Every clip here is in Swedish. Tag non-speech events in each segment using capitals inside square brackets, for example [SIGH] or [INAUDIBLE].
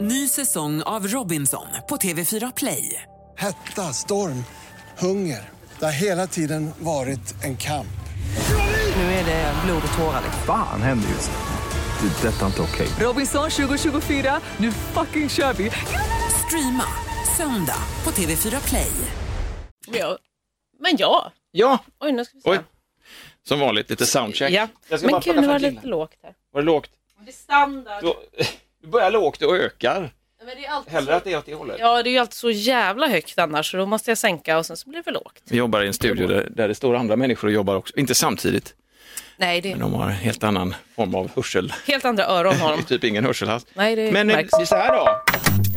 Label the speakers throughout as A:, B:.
A: Ny säsong av Robinson på TV4 Play.
B: Hetta, storm, hunger. Det har hela tiden varit en kamp.
A: Nu är det blod och tårar. liksom.
C: Fan händer just nu. Det. är Detta är inte okej.
A: Robinson 2024, nu fucking kör vi! Streama söndag på TV4 Play.
D: Ja. Men ja.
E: Ja,
D: Oj, nu ska vi se.
E: oj. Som vanligt, lite soundcheck.
D: Ja.
E: Jag ska bara
D: Men gud,
E: plocka
D: nu
E: fram
D: var det
E: killen.
D: lite lågt här.
E: Var det lågt?
D: Det är standard.
E: Då, [LAUGHS] du börjar lågt och ökar.
D: Men det är alltid
E: Hellre att det är åt det hållet.
D: Ja, det är ju alltid så jävla högt annars, så då måste jag sänka och sen så blir det för lågt.
E: Vi jobbar i en studio där, där det står andra människor och jobbar också. Inte samtidigt,
D: Nej, det
E: men
D: är
E: de har en helt annan form av hörsel.
D: helt andra öron
E: [LAUGHS]
D: har de.
E: Typ ingen hörselhast.
D: Nej, det
E: Men eh,
D: märks.
E: vi är så här då.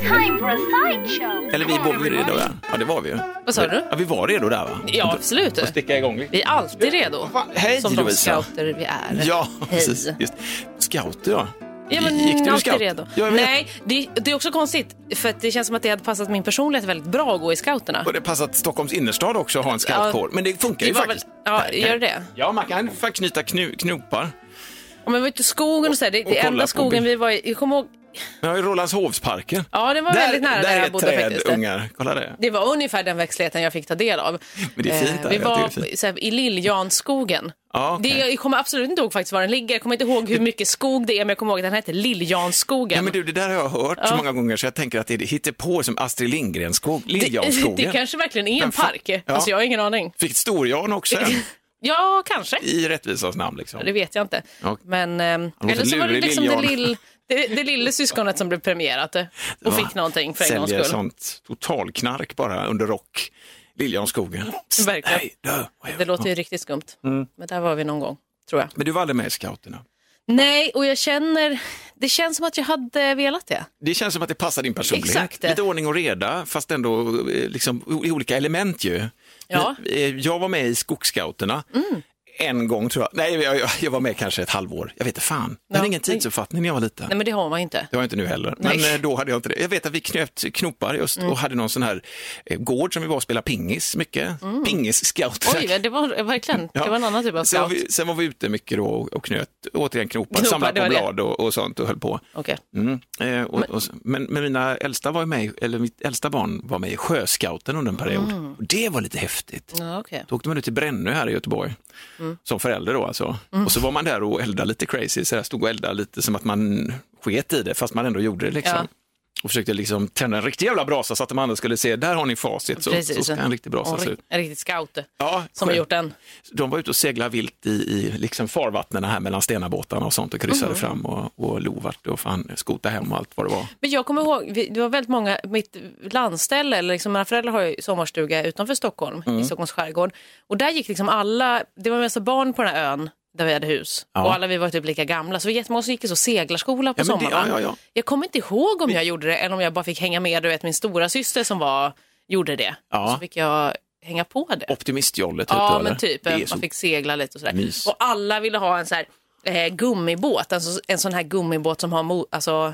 F: Time for a sideshow.
E: Eller vi var ju redo där. Ja, det var vi ju.
D: Vad sa du?
E: Ja, vi var redo där va?
D: Ja, absolut.
E: Och sticka igång lite.
D: Vi är alltid redo.
E: Fan, hej,
D: som de
E: Lovisa.
D: scouter vi är.
E: Ja,
D: Hej.
E: precis. Just. Scouter ja.
D: Ja, men
E: Gick du i
D: alltid
E: scout?
D: redo.
E: Ja, jag vet.
D: Nej, det, det är också konstigt, för att det känns som att det hade passat min personlighet väldigt bra att gå i scouterna.
E: Och det passar att Stockholms innerstad också har en scoutkår.
D: Ja.
E: Men det funkar
D: Det
E: ju
D: var
E: faktiskt.
D: väl- ja, gör det?
E: Ja, man kan faktiskt knyta knu, knopar.
D: Ja, Men vi var ute i skogen och så här. Det,
E: Och
D: det
E: kolla
D: enda
E: på
D: skogen
E: bild.
D: vi var i, jag kommer ihåg,
E: Jag har ju Rålambshovsparken.
D: Ja, det var väldigt nära där jag bodde
E: Där är träd,
D: faktiskt.
E: ungar. Kolla det.
D: det var ungefär den växtligheten jag fick ta del av. Eh,
E: Men det är fint där,
D: vi
E: jag tycker
D: var
E: det är fint.
D: Så här, i Liljans-skogen.
E: Ja, okej.
D: det, jag kommer absolut inte ihåg faktiskt var den ligger. Jag kommer inte ihåg hur mycket skog det är, men jag kommer ihåg att den hette Liljansskogen.
E: Ja, men du, det där har jag hört så många gånger så jag tänker att det är det hittepå som Astrid Lindgren-skog,
D: det, [LAUGHS]
E: Liljanskogen.
D: det kanske verkligen är en
E: Men fan-
D: park.
E: ja.
D: Alltså, jag har ingen aning.
E: Fick Storjan också en,
D: Ja, kanske.
E: i rättvisans namn. Liksom.
D: Det vet jag inte.
E: Ja.
D: Men, ehm,
E: låter
D: eller så var det
E: lurig,
D: liksom det,
E: Liljan.
D: lill, det, det lilla syskonet som blev premierat eh, och fick någonting för en gångs
E: Säljer
D: skull.
E: sånt totalknark bara under rock. Liljanskogen. Psst,
D: Verkligen.
E: nej, dö.
D: Det låter ju riktigt skumt.
E: Mm.
D: Men där var vi någon gång, tror jag.
E: Men du var aldrig med i scouterna?
D: Nej, och jag känner, det känns som att jag hade velat det.
E: Det känns som att det passar din personlighet.
D: Exakt.
E: Lite ordning och reda, fast ändå eh, liksom, o- i olika element ju.
D: Ja. Mm.
E: Men, eh, Jag var med i Skogscouterna en gång tror jag. Nej, jag, jag- jag var med kanske ett halvår. Jag vet inte fan. Jag
D: Ja.
E: hade ingen tidsuppfattning när jag var liten.
D: Nej, men det har man ju inte.
E: Det har jag inte nu heller.
D: Nej. Mm.
E: Men eh, då hade jag inte det. Jag vet att vi knöt knopar just och hade någon sån här eh, gård som vi var och spelade pingis mycket. Pingis-scout.
D: Mm. Oj, det var verkligen,
E: Ja.
D: det var en annan typ av
E: sen var,
D: scout.
E: vi, sen var vi ute mycket då och, och knöt återigen knopar,
D: Knopar,
E: samlade
D: det
E: på
D: var det.
E: blad och, och sånt och höll på.
D: Okej.
E: Mm. Eh, och, men, och, s- men, men mina äldsta var ju med, i- eller mitt äldsta barn var med i Sjöscouten under en period.
D: Mm.
E: Och det var lite häftigt.
D: Ja, okej.
E: Då åkte man ut till Brännö här i Göteborg,
D: Mm.
E: som förälder då alltså. Och så var man där och eldade lite crazy, så där stod och eldade lite som att man sket i det, fast man ändå gjorde det liksom.
D: Ja.
E: Och försökte liksom tända en riktig jävla brasa så att de andra skulle se, där har ni facit, så,
D: Precis.
E: så ska en riktig brasa
D: Och
E: se
D: ri-
E: ut.
D: En riktig scout eh,
E: Ja,
D: som har gjort den.
E: de var ute och seglade vilt i, i liksom farvattnen här mellan Stenabåtarna och sånt och kryssade
D: Mm.
E: fram och, och Lovart och fan skota hem och allt vad det var.
D: Men jag kommer ihåg, vi, det var väldigt många, mitt landställe, eller liksom, mina föräldrar har ju sommarstuga utanför Stockholm,
E: Mm.
D: i Stockholms skärgård. Och där gick liksom alla, det var mest barn på den här ön där vi hade hus.
E: Ja.
D: Och alla vi var typ lika gamla, så det var jättemånga som gick i så seglarskola på
E: Ja, men det-
D: sommarna.
E: ja, ja, ja.
D: Jag kommer inte ihåg om jag gjorde det, eller om jag bara fick hänga med, du vet min stora syster som var, gjorde det.
E: Ja.
D: Så fick jag hänga på det.
E: Optimistjolle typ?
D: Ja,
E: eller?
D: men typ.
E: Det är så...
D: Man fick segla lite och sådär.
E: Mys.
D: Och alla ville ha en så här, eh, gummibåt, alltså, en sån här gummibåt som har mo- alltså,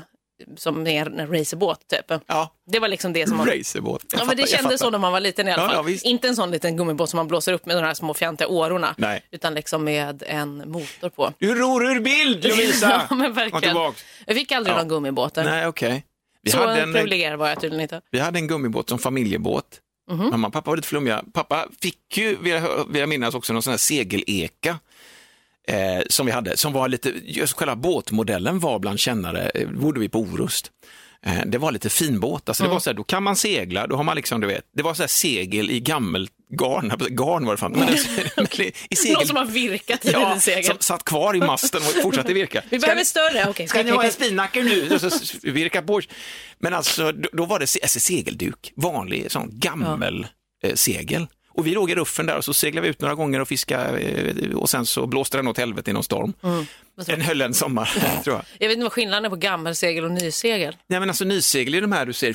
D: som är en racerbåt typ.
E: Ja,
D: Det var liksom det som man...
E: racerbåt. Jag
D: Ja,
E: fattar,
D: men det
E: jag fattar.
D: kändes så när man var liten i alla
E: Ja,
D: fall.
E: ja, visst.
D: Inte en sån liten gummibåt som man blåser upp med de här små fjantiga årorna.
E: Nej.
D: Utan liksom med en motor på.
E: Du ror ur bild, Lovisa!
D: [LAUGHS] ja, men
E: Kom
D: verkligen.
E: tillbaks.
D: Jag fick aldrig
E: Ja.
D: någon gummibåt. där.
E: Nej, okej. Vi,
D: Så
E: hade en,
D: privilegierad var jag tydligen inte.
E: vi hade en gummibåt som familjebåt.
D: Mhm.
E: Mamma och pappa var lite flummiga. Pappa fick ju, vill jag, vill jag minnas, också någon sån här segeleka. Eh, som vi hade, som var lite, just själva båtmodellen var bland kännare, eh, bodde vi på Orust. Eh, det var lite finbåt, alltså det
D: Mm.
E: var så här, då kan man segla, då har man liksom, du vet, det var så här segel i gammelt garn, [LAUGHS] garn var
D: [LAUGHS]
E: det fan, men, alltså, men i- i
D: Någon
E: segel,
D: som har virkat i
E: ja,
D: din segel.
E: som satt kvar i masten och fortsatte virka.
D: Vi
E: Ska
D: behöver
E: ni-
D: större. Okej,
E: Ska ni ha en spinnaker nu? Och [LAUGHS] så s- Virka på. Men alltså, då, då var det se- alltså, segelduk, vanlig sån gammel eh, segel. Och vi låg i ruffen där och så seglade vi ut några gånger och fiskade eh, och sen så blåste den åt helvete i någon storm. Den höll en sommar, [LAUGHS] tror jag.
D: Jag vet inte vad skillnaden är på gammelsegel och nysegel.
E: Nej men alltså nysegel är de här du ser,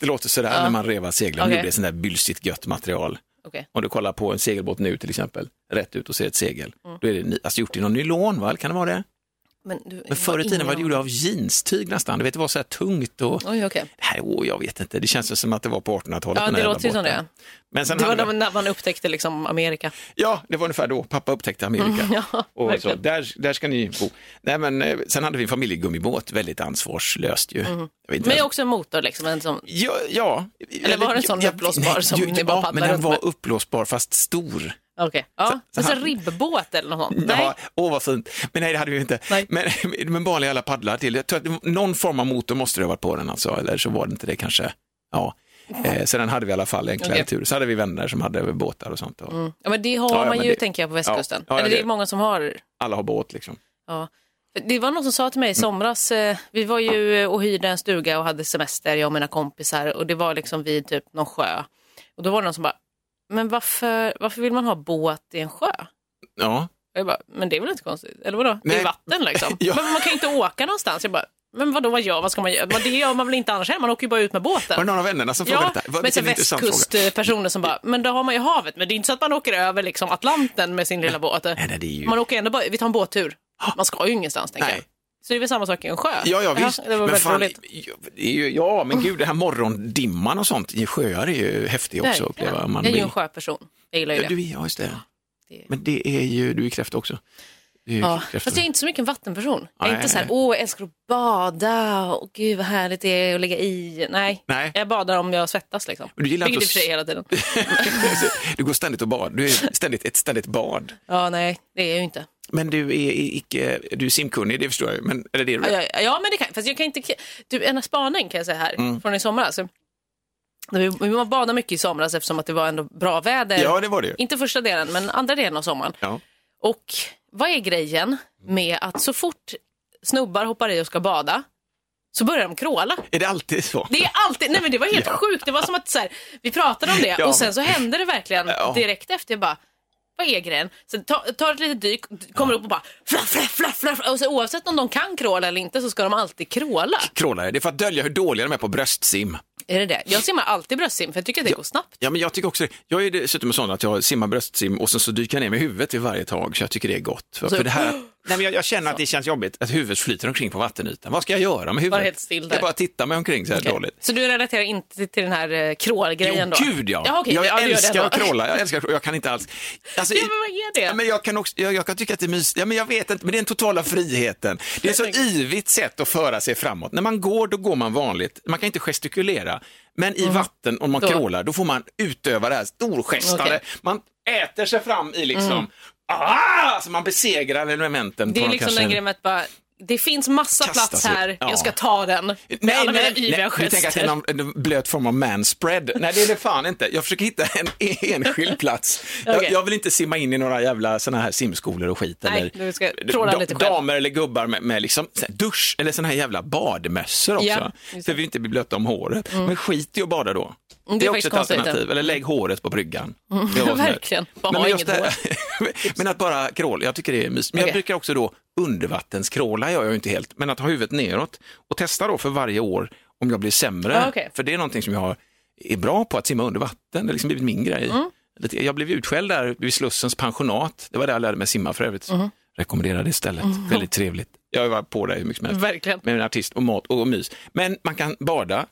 E: det låter sådär när man revar seglen,
D: Okej.
E: nu blir det sån där bylsigt gött material.
D: Okej.
E: Om du kollar på en Mm. segelbåt nu till exempel, rätt ut och ser ett segel, då är det ny- alltså, gjort i någon nylon, va? kan det vara det?
D: Men, du,
E: Men förr i tiden var det gjort av jeanstyg nästan. Du vet, det var så här tungt och...
D: Oj, okej.
E: Det här, åh, jag vet inte, det känns ju som att det var på 1800-talet.
D: Ja,
E: den
D: det
E: här
D: låter ju som
E: båten.
D: det.
E: Men sen
D: Det var
E: hade
D: då när man upptäckte liksom Amerika. [LAUGHS]
E: Ja, det var ungefär då pappa upptäckte Amerika.
D: Mm, ja,
E: och så,
D: verkligen.
E: där, där ska ni bo. Nej, men, eh, sen hade vi en familjegummibåt, väldigt ansvarslöst ju. Jag vet inte
D: Mm. Men
E: ens-
D: också en motor liksom. En sån...
E: Ja, ja.
D: Eller var det en sån
E: jag-
D: uppblåsbar som
E: ju-
D: ni bara
E: Ja, men
D: paddlar
E: den
D: runt
E: var
D: med?
E: uppblåsbar fast stor.
D: Okej. Ja.
E: Så-
D: en
E: så
D: sån
E: här-
D: ribbåt eller något sånt. Nej.
E: Ja, åh vad fint. Men nej, det hade vi ju inte.
D: Nej.
E: Men, [LAUGHS] men vanliga alla paddlar till. Jag tror att det var- någon form av motor måste det ha varit på den alltså, eller så var det inte det kanske. Ja. Eh, så den hade vi i alla fall, en
D: Mm. Okej. Mm.
E: tur. Så hade vi vänner som hade båtar och sånt. Och
D: Ja, men det har
E: Ja, ja,
D: man
E: men
D: ju,
E: det-
D: tänker jag, på västkusten.
E: Ja, ja,
D: Eller det är
E: det-
D: många som har.
E: Alla har båt liksom.
D: Ja. Det var någon som sa till
E: Mm.
D: mig i somras, eh, vi var ju eh, och hyrde en stuga och hade semester, jag och mina kompisar, och det var liksom vid typ någon sjö. Och då var det någon som bara, men varför, varför vill man ha båt i en sjö?
E: Ja.
D: Och jag bara, men det är väl inte konstigt? Eller vadå? Det är
E: Nej.
D: vatten liksom.
E: [LAUGHS] Ja.
D: Men man kan ju inte åka någonstans. Jag bara, men vadå, vad gör, vad ska man göra? Men Det gör man väl inte annars heller? Man åker ju bara ut med båten.
E: Var det någon av vännerna som frågade
D: Ja,
E: detta? Det var
D: men så
E: en intressant fråga.
D: västkustpersoner som bara, men då har man ju havet, men det är inte så att man åker över liksom Atlanten med sin lilla båt.
E: Nej, nej, det är ju...
D: Man åker ändå bara, vi tar en båttur. Man ska ju ingenstans tänker
E: Nej.
D: jag. Så det är väl samma sak i en sjö?
E: Ja, ja, visst.
D: det var
E: men
D: väldigt
E: fan,
D: roligt.
E: det är ju, ja, men gud, det här morgondimman och sånt i sjöar är ju häftig också att uppleva. om Man
D: jag är ju
E: vill.
D: en sjöperson. Jag gillar ju
E: Ja,
D: det.
E: du är, ja, just det.
D: det är-
E: Men det är ju, du är kräfta också. Du är ju
D: Ja.
E: kräfta.
D: Fast jag är inte så mycket en vattenperson. Jag är
E: Nej.
D: inte så här, åh, jag älskar att bada och gud vad härligt det är att ligga i. Nej,
E: Nej.
D: jag badar om jag svettas liksom.
E: Men du gillar
D: Vilket i och
E: inte
D: för sig
E: att-
D: hela tiden.
E: [LAUGHS] du går ständigt och bad. Du är ständigt, ett ständigt bad.
D: Ja, nej, det är jag ju inte.
E: Men du är icke, du är simkunnig, det förstår jag ju. Men, eller det är du.
D: Ja, ja, ja men det kan Fast jag kan inte... Du, en spaning kan jag säga här,
E: Mm.
D: från i somras. Vi, vi badade mycket i somras eftersom att det var ändå bra väder.
E: Ja, det var det ju.
D: Inte första delen, men andra delen av sommaren.
E: Ja.
D: Och vad är grejen med att så fort snubbar hoppar i och ska bada så börjar de kråla.
E: Är det alltid så?
D: Det är alltid, nej men det var helt sjukt. Det var som att så här, vi pratade om det
E: Ja.
D: och sen så hände det verkligen
E: Ja.
D: direkt efter. Jag bara, vad är grejen? Sen ta- tar ett litet dyk, d- kommer upp och bara flaff, flaff, flaff, flaff. Och så, oavsett om de kan kråla eller inte så ska de alltid kråla.
E: Krålare, det är för att dölja hur dåliga de är på bröstsim.
D: Är det det? Jag simmar alltid bröstsim för jag tycker att det går snabbt.
E: Ja, men jag tycker också det. Jag är dessutom sån att jag simmar bröstsim och sen så dyker jag ner med huvudet vid varje tag, så jag tycker det är gott. För, för
D: [GASPS]
E: det här, nej, men jag, jag känner att det känns jobbigt att huvudet flyter omkring på vattenytan. Vad ska jag göra med huvudet?
D: helt still där.
E: Jag bara tittar mig omkring så här dåligt.
D: Så du relaterar inte till- till den här eh, krålgrejen
E: Jo,
D: då?
E: gud ja.
D: ja okej,
E: jag
D: ja, du gör det
E: älskar att
D: ändå.
E: krålla, jag älskar att krålla. jag kan inte alls. Alltså,
D: Ja, men vad är det?
E: Ja, men jag, kan också, jag, jag kan tycka att det är mysigt, ja, men jag vet inte, men det är den totala friheten. Det är så yvigt sätt att föra sig framåt. När man går, då går man vanligt, man kan inte gestikulera. Men i vatten, om man
D: Mm. Då-
E: krålar, då får man utöva det här storgestade.
D: Okej. Mm.
E: Man äter sig fram i liksom, ah! alltså man besegrar elementen.
D: Det
E: på
D: är
E: något
D: liksom
E: kanske-
D: den grejen med att bara, det finns massa
E: Kasta
D: plats
E: sig.
D: här,
E: Ja.
D: jag ska ta den. Med
E: Nej,
D: alla
E: nej,
D: mina yviga
E: nej, du tänker att det är
D: gester.
E: någon en blöt form av manspread. Nej, det är det fan inte. Jag försöker hitta en [LAUGHS] enskild plats.
D: Okej.
E: Jag, jag vill inte simma in i några jävla sådana här simskolor och skit.
D: Nej,
E: eller,
D: du ska tråla
E: da-
D: lite själv.
E: Damer eller gubbar med, med liksom, så här dusch eller sådana här jävla badmössor också.
D: Ja, just det. Mm.
E: för vi inte blir blöta om håret. Men skit i att bada då.
D: är
E: det är också
D: faktiskt
E: ett
D: konstigt, Mm.
E: alternativ. Eller lägg håret på bryggan.
D: [LAUGHS]
E: Det var sån här.
D: Verkligen. Bara
E: Nej,
D: ha
E: men, just
D: inget
E: det, [LAUGHS] men att bara kråla, jag tycker det är mysigt. Men
D: Okej.
E: jag brukar också då undervattenskråla, gör jag ju inte helt, men att ha huvudet neråt och testa då för varje år om jag blir sämre.
D: Ah, okej.
E: För det är någonting som jag har- är bra på, att simma under vatten. Det har liksom blivit min grej.
D: Mm.
E: Lite- Jag blev utskälld där vid Slussens pensionat. Det var där jag lärde mig simma för övrigt.
D: Mm.
E: Rekommenderar det stället. Väldigt trevligt. Jag var på det hur mycket som helst
D: Verkligen.
E: med en artist och mat och mys. Men man kan bada.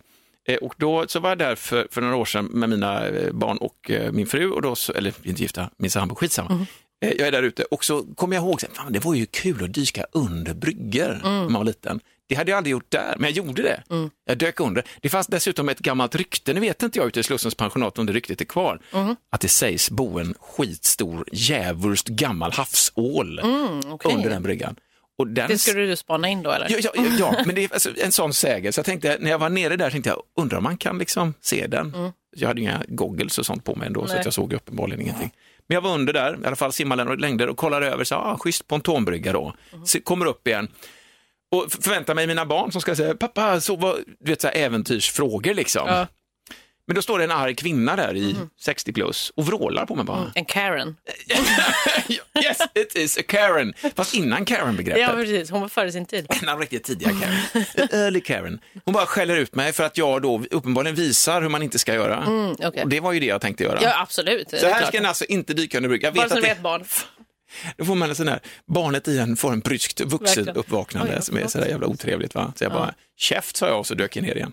E: Eh, Och då så var jag där för, för några år sedan med mina eh, barn och eh, min fru, och då så, eller vi är inte gifta, min sambo, skitsamma.
D: Mm.
E: Eh, Jag är där ute och så kommer jag ihåg, så här, fan, det var ju kul att dyka under bryggor när
D: Mm.
E: man var liten. Det hade jag aldrig gjort där, men jag gjorde det. Jag dök under. Det fanns dessutom ett gammalt rykte, nu vet inte jag ute i Slussens pensionat om det ryktet är kvar,
D: Mm.
E: att det sägs bo en skitstor, djävulskt gammal havsål under den bryggan. Och den
D: Mm, Det skulle du spana in då eller?
E: Ja, ja, ja, ja men det är alltså en sån säger. Så jag tänkte, när jag var nere där tänkte jag, undrar om man kan liksom se den. Jag hade inga goggles och sånt på mig ändå, så
D: Mm. Nej.
E: att jag såg uppenbarligen ingenting. Men jag var under där, i alla fall simmade några längder och kollade över, så ah, schysst pontonbrygga då.
D: Mm.
E: Så kommer upp igen och f- förväntar mig mina barn som ska säga, pappa, så vad, du vet så här äventyrsfrågor liksom.
D: Ja. Mm.
E: Men då står det en arg kvinna där i 60 plus och vrålar på mig bara.
D: En Karen.
E: [LAUGHS] yes, it is a Karen. Fast innan Karen-begreppet.
D: Ja, precis. Hon var före sin tid.
E: en av de riktigt tidiga Karen. En Early Karen. Hon bara skäller ut mig för att jag då uppenbarligen visar hur man inte ska göra.
D: okej.
E: Och det var ju det jag tänkte göra.
D: Ja, absolut.
E: så här ska en alltså inte dyka under bryggan.
D: Bara
E: Jag vet
D: så
E: [LAUGHS] att
D: du vet, barn.
E: Då får man en sån här, barnet i en får en bryskt vuxet
D: Verkligen.
E: uppvaknande
D: Oj, ja,
E: som är
D: förlåt.
E: så där jävla otrevligt. Va? Så jag bara, käft sa jag och så dök jag ner igen.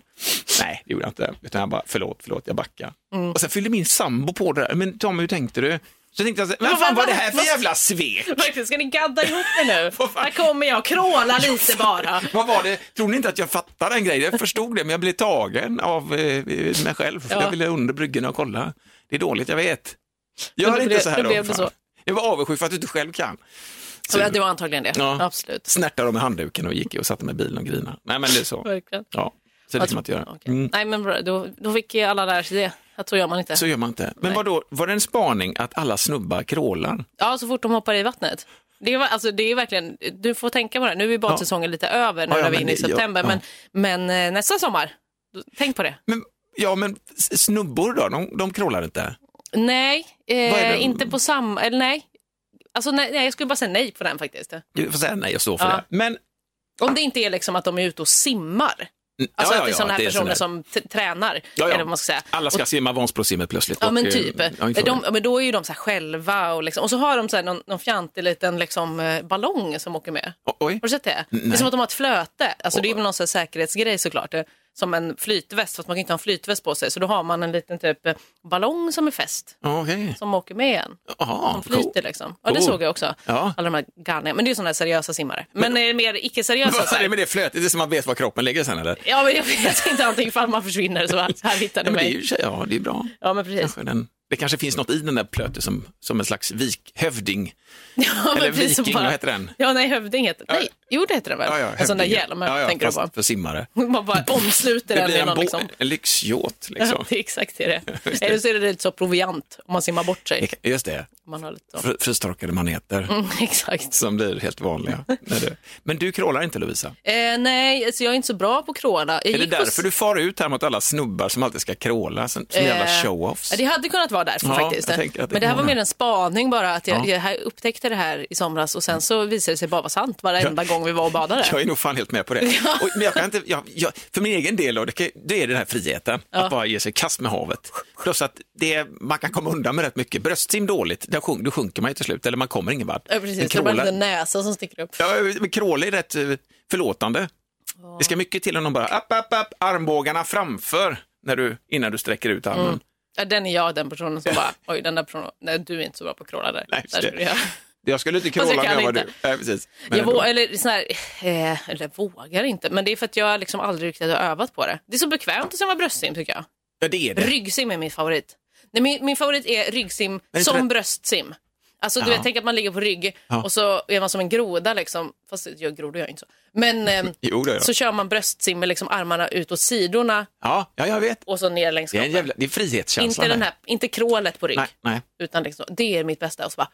E: Nej, det gjorde jag inte, utan jag bara, förlåt, förlåt, jag backar. Och sen fyllde min sambo på det där, men Tom, hur tänkte du? Så tänkte jag, så här, men vad fan var det här för jävla svek?
D: Verkligen, ska ni gadda ihop er nu?
E: [LAUGHS] Vad fan?
D: Här kommer jag, kråla lite
E: [LAUGHS]
D: bara.
E: Vad var det? Tror ni inte att jag fattade den grejen? Jag förstod det, men jag blev tagen av eh, mig själv. För
D: Ja.
E: Jag ville under bryggorna och kolla. Det är dåligt, jag vet. Gör
D: Men då
E: inte
D: blev-
E: så
D: då
E: här
D: blev det
E: fan.
D: så.
E: Jag var avundsjuk för att du inte själv kan. Så
D: Ja, det var antagligen det.
E: Ja.
D: Absolut.
E: snärtade de med handduken och gick och satte mig i bilen och grinade. Nej, men det är så.
D: Verkligen.
E: Ja, så det kan man inte göra.
D: Alltså, Okej.
E: Mm.
D: Nej, men bra, då, då fick ju alla lära sig det. Att så gör man inte.
E: Så gör man inte. Men
D: Nej.
E: vadå, var det en spaning att alla snubbar krålar?
D: Ja, så fort de hoppar i vattnet. Det är, alltså, det är verkligen, du får tänka på det. här. Nu är badsäsongen lite över nu
E: Ja, ja,
D: när vi är
E: men
D: inne i
E: det- ja,
D: september.
E: ja.
D: Men, men eh, nästa sommar, då- tänk på det.
E: Men, ja, men s- snubbor då, de, de krålar inte?
D: Nej,
E: Vad är det?
D: eh, inte på samma... Eller nej. Alltså, nej, nej, jag skulle bara säga nej på den faktiskt.
E: Du får säga nej, jag står för
D: Ja. Alltså,
E: det. Men,
D: Om det inte är liksom att de är ute och simmar. Alltså att det är sådana här
E: det är sån
D: personer som
E: här-
D: t- tränar.
E: Ja, ja.
D: Eller vad man ska säga.
E: Alla ska simma Vansbrosimmet plötsligt.
D: Ja
E: och,
D: men
E: eh,
D: typ.
E: ja, inte
D: de,
E: det.
D: ja, men då är ju de så här själva och, liksom, och så har de så här någon, någon fjantig liten liksom, eh, ballong som åker med.
E: O- Oj.
D: Har du sett det? Det är
E: nej.
D: som att de har ett flöte. Alltså, det är väl någon sån här säkerhetsgrej såklart. eh, Som en flytväst, fast man kan inte ha en flytväst på sig. Så då har man en liten typ eh, ballong som är fäst,
E: Okej.
D: som åker med igen.
E: Jaha,
D: Som flyter
E: cool.
D: liksom. Ja, det
E: Cool.
D: såg jag också.
E: Ja.
D: Alla de här garniga. Men det är ju sådana här seriösa simmare. Men, är det mer
E: [LAUGHS]
D: icke-seriösa?
E: Vad
D: så
E: är det
D: här-
E: med det flötet? Det är som man vet var kroppen ligger sen eller?
D: Ja, men jag vet inte, antingen ifall man försvinner så här, här hittar du
E: Nej, men det är
D: mig.
E: ju, ja, det är bra.
D: Ja, men precis.
E: Kanske Den, det kanske finns något i den där plöten som, som en slags vik, hövding.
D: Ja, men
E: Eller
D: precis som
E: viking, vad heter den?
D: Ja, nej, hövding heter den. Nej, jo det heter den väl?
E: Ja, ja,
D: en sån där
E: hövding.
D: hjälm,
E: ja, ja,
D: tänker du
E: fast
D: på.
E: För simmare.
D: Man bara omsluter
E: [LAUGHS] Det
D: den
E: blir
D: med
E: en,
D: någon
E: bo-
D: liksom.
E: en lyxyacht. [LAUGHS] Liksom.
D: Ja, [LAUGHS] det är exakt det det
E: Just
D: är.
E: det.
D: Eller så är det lite så proviant om man simmar bort sig.
E: Just det,
D: Man har lite så.
E: Fr- frystorkade maneter
D: Mm, [LAUGHS] exakt.
E: som blir helt vanliga. När du... Men du krålar inte Lovisa?
D: Eh, nej, alltså jag är inte så bra på kråla. Jag
E: Är det
D: gick på s-
E: därför du far ut här mot alla snubbar som alltid ska kråla, som, som jävla
D: Eh,
E: show-offs?
D: Ja, det hade kunnat vara därför
E: Ja,
D: faktiskt.
E: jag tänker att det
D: Men det här
E: kan
D: var
E: vara
D: mer en spaning bara, att jag,
E: Ja.
D: jag här upptäckte det här i somras och sen så visade det sig bara vara sant varenda gång vi var och
E: [LAUGHS]
D: badade.
E: Jag är nog fan helt med på det. Och, men jag kan inte, jag, jag, för min egen del, då, det, kan- det är den här friheten, att bara ge sig i kast med havet. Plus att det, man kan komma undan med rätt mycket. Bröstsim dåligt, där sjunk, då sjunker man ju till slut, eller man kommer ingen vart.
D: Ja, precis. Det var en
E: kråla,
D: liten näsa som sticker upp.
E: ja, men kråla är rätt eh, förlåtande. Det ska mycket till om de bara, app, app, app, armbågarna framför när du, innan du sträcker ut armen.
D: Ja, den är jag, den personen som bara, oj, den där personen, nej, du är inte så bra på att kråla där.
E: Nej,
D: där
E: det-
D: skulle jag.
E: Jag skulle inte
D: Fast
E: kråla
D: jag
E: om
D: kan
E: jag var du.
D: inte.
E: Nej, precis. Men
D: Jag
E: ändå.
D: vå- eller, sån här, eh, eller vågar inte, men det är för att jag liksom aldrig riktigt har övat på det. Det är så bekvämt att simma bröstsim tycker jag.
E: ja, det är det.
D: Ryggsim är min favorit. Nej, min, min favorit är ryggsim
E: det
D: som
E: inte det-
D: bröstsim. Alltså, du
E: Ja.
D: vet, tänk att man ligger på rygg
E: Ja.
D: och så är man som en groda. Liksom. Fast jag, grodor gör inte så. Men
E: [LAUGHS]
D: ehm,
E: Jo, det är
D: så kör man bröstsim med liksom armarna ut åt sidorna
E: Ja, ja, jag vet.
D: och så ner längs
E: Det är, en
D: kroppen.
E: jävla, det är frihetskänslan.
D: Inte, den
E: där.
D: här, inte krålet på rygg,
E: Nej, nej.
D: utan liksom, det är mitt bästa. Och så bara,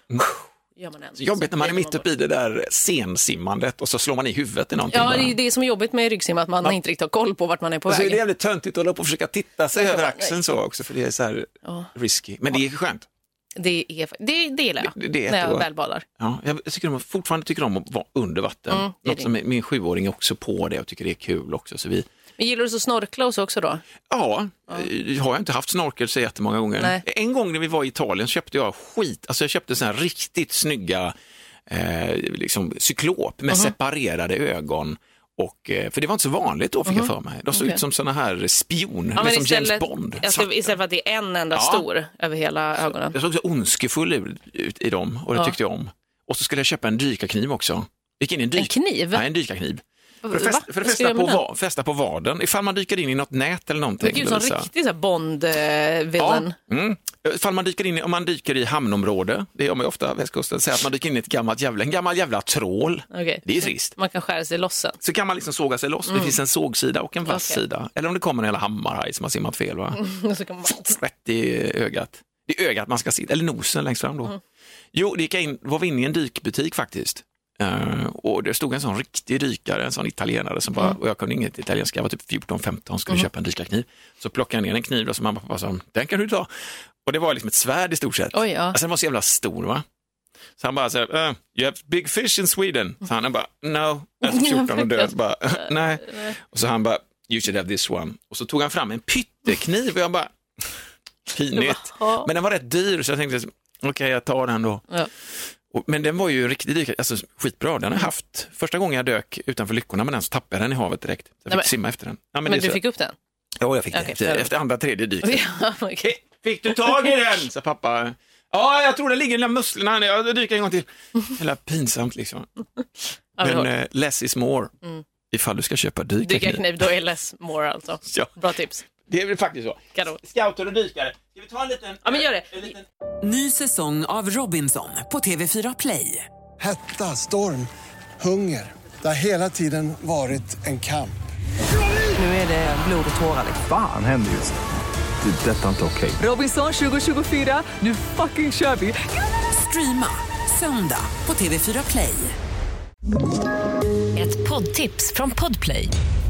D: gör man en,
E: Mm. Så jobbigt när man är mitt uppe
D: bort.
E: i det där sensimmandet och så slår man i huvudet i någonting.
D: Ja,
E: bara.
D: det är det som är jobbigt med ryggsim, att man inte riktigt har koll på vart man är på
E: och så är
D: väg.
E: det jävligt töntigt att hålla på och försöka titta sig över
D: bara,
E: axeln
D: nej.
E: så också, för det är så här risky. Men det är skönt.
D: Det, är, det, det gillar jag,
E: Det- det är
D: när jag
E: jättebra.
D: väl badar.
E: Ja, jag tycker om, fortfarande tycker om att vara under vatten.
D: Mm, det är
E: Något som min sjuåring är också på det och tycker det är kul också. Så vi,
D: Men gillar du så snorkla och så också då?
E: Ja, eh, har jag inte haft snorkel så jättemånga gånger.
D: Nej.
E: En gång när vi var i Italien så köpte jag skit, alltså jag köpte sådana här riktigt snygga eh, liksom cyklop med separerade ögon. Och, eh, för det var inte så vanligt då, fick jag för mig. De såg
D: Okej.
E: ut som sådana här spion,
D: Ja, men
E: liksom James Bond.
D: alltså, istället för att det är en enda
E: Ja.
D: stor över hela ögonen.
E: Jag såg så ondskefull ut, ut i dem och det tyckte jag om. Och så skulle jag köpa en dykarkniv också. Gick in i en, dyk...
D: En kniv?
E: Nej, en dykarkniv. För att,
D: Va?
E: fästa,
D: Vad ska
E: för att
D: jag
E: fästa,
D: göra
E: på
D: med den?
E: va, fästa på vaden, ifall man dyker in i något nät eller någonting.
D: Det är ju som
E: Lovisa.
D: riktig så här Bond-villain.
E: Ja, mm. Ifall man dyker in, i- om man dyker i hamnområde, det gör man ju ofta västkusten, säg att man dyker in i ett gammalt jävla, en gammal jävla trål.
D: Okej.
E: Det är trist.
D: Man kan skära sig loss sen. [LAUGHS]
E: Så kan man liksom såga sig loss, det finns en sågsida och en vass
D: Okej.
E: sida. Eller om det kommer en jävla hammarhaj som har simmat fel, va?
D: Och så kan man bara...
E: rätt i ögat. Det är ögat man ska sitta, eller nosen längst fram
D: Mm.
E: då. Jo, det gick jag in, var vi inne i en dykbutik faktiskt. Eh, och det stod en sån riktig dykare, en sån italienare som
D: Mm.
E: bara, och jag kunde inget italienska, jag var typ 14-15 skulle köpa en dykarkniv. Så plockade jag ner en kniv då, som mamma och pappa sa, den kan du ta. Och det var liksom ett svärd i stort sett.
D: Oj, ja.
E: Alltså den var så jävla stor va. Så han bara, så här, "Eh, you have big fish in Sweden. Så han bara, no, efter 14 och död, bara, [LAUGHS]
D: [LAUGHS]
E: nej. Och så han bara, you should have this one. Och så tog han fram en pyttekniv och jag bara, pinigt.
D: Jaha.
E: Men den var rätt dyr så jag tänkte, okej jag tar den då.
D: Ja.
E: Och, men den var ju riktigt dyk, alltså, skitbra. Den har jag haft. Första gången jag dök utanför Lyckorna med den så tappade jag den i havet direkt. Jag fick
D: Nej, men-
E: simma efter den. Ja, men
D: Men,
E: det är
D: du
E: så-
D: fick upp den?
E: Ja, jag fick det.
D: Okej,
E: efter,
D: förlåt.
E: efter andra, tredje dyk.
D: [LAUGHS] Ja, okej.
E: Fick du tag i [LAUGHS] den? sa pappa. Ja, jag tror det ligger i den där musslorna. här nere. Jag dyker en gång till. Hela pinsamt liksom.
D: Ja, Mm. vi
E: Men
D: har-
E: eh, less is more. Ifall du ska köpa
D: Dyka
E: dykarkniv.
D: kniv, då är less more alltså.
E: Ja,
D: Bra tips.
E: det är väl faktiskt så.
D: Kanon.
E: Scouter och dykare. Ska vi ta en liten...
D: Ja, men gör det.
E: En liten...
A: Ny säsong av Robinson på TV4 Play.
B: Hetta, storm, hunger. Det har hela tiden varit en kamp.
A: Nu är det blod och tårar.
E: liksom.
C: Fan händer just nu. Det. är Detta är inte okej.
A: Robinson 2024, nu fucking kör vi! Streama söndag på TV4 Play.
G: Ett poddtips från Podplay.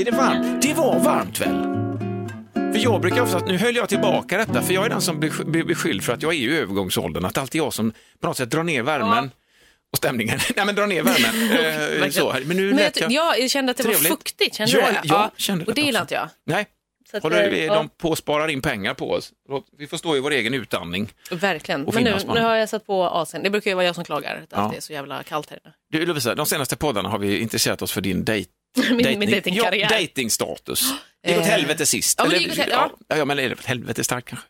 E: Är det varmt? Det var varmt väl? För jag brukar ofta, nu höll jag tillbaka detta, för jag är den som blir blir beskyld för att jag är i övergångsåldern, att det alltid är jag som på något sätt drar ner värmen och stämningen. [LAUGHS] Nej men drar
D: [LAUGHS]
E: ner värmen. eh, så. här. Men nu
D: Men
E: lät
D: jag,
E: jag...
D: ja, jag kände att det
E: Trevligt.
D: var fuktigt. Kände
E: Ja,
D: du det?
E: jag kände
D: Och det
E: det
D: gillar
E: också.
D: inte jag.
E: Nej,
D: Så att,
E: håller
D: eh,
E: vi,
D: ja,
E: de på sparar in pengar på oss. Låt- Vi får stå i vår egen utandning.
D: Verkligen.
E: och
D: Men nu,
E: Finlandsbanan.
D: nu har jag satt på AC'n. Det brukar ju vara jag som klagar att
E: Ja.
D: det är så jävla kallt
E: [LAUGHS]
D: här inne.
E: Du Lovisa, de senaste poddarna har vi intresserat oss för din dejt.
D: Min- min
E: dejtning-
D: dejtingkarriär. [GASPS]
E: Ja, dejtingstatus. Det gick åt
D: Eh.
E: helvete sist.
D: Ja, men det
E: Eller-
D: gick åt hel- ja.
E: ja, ja, men är det åt helvete starkt kanske?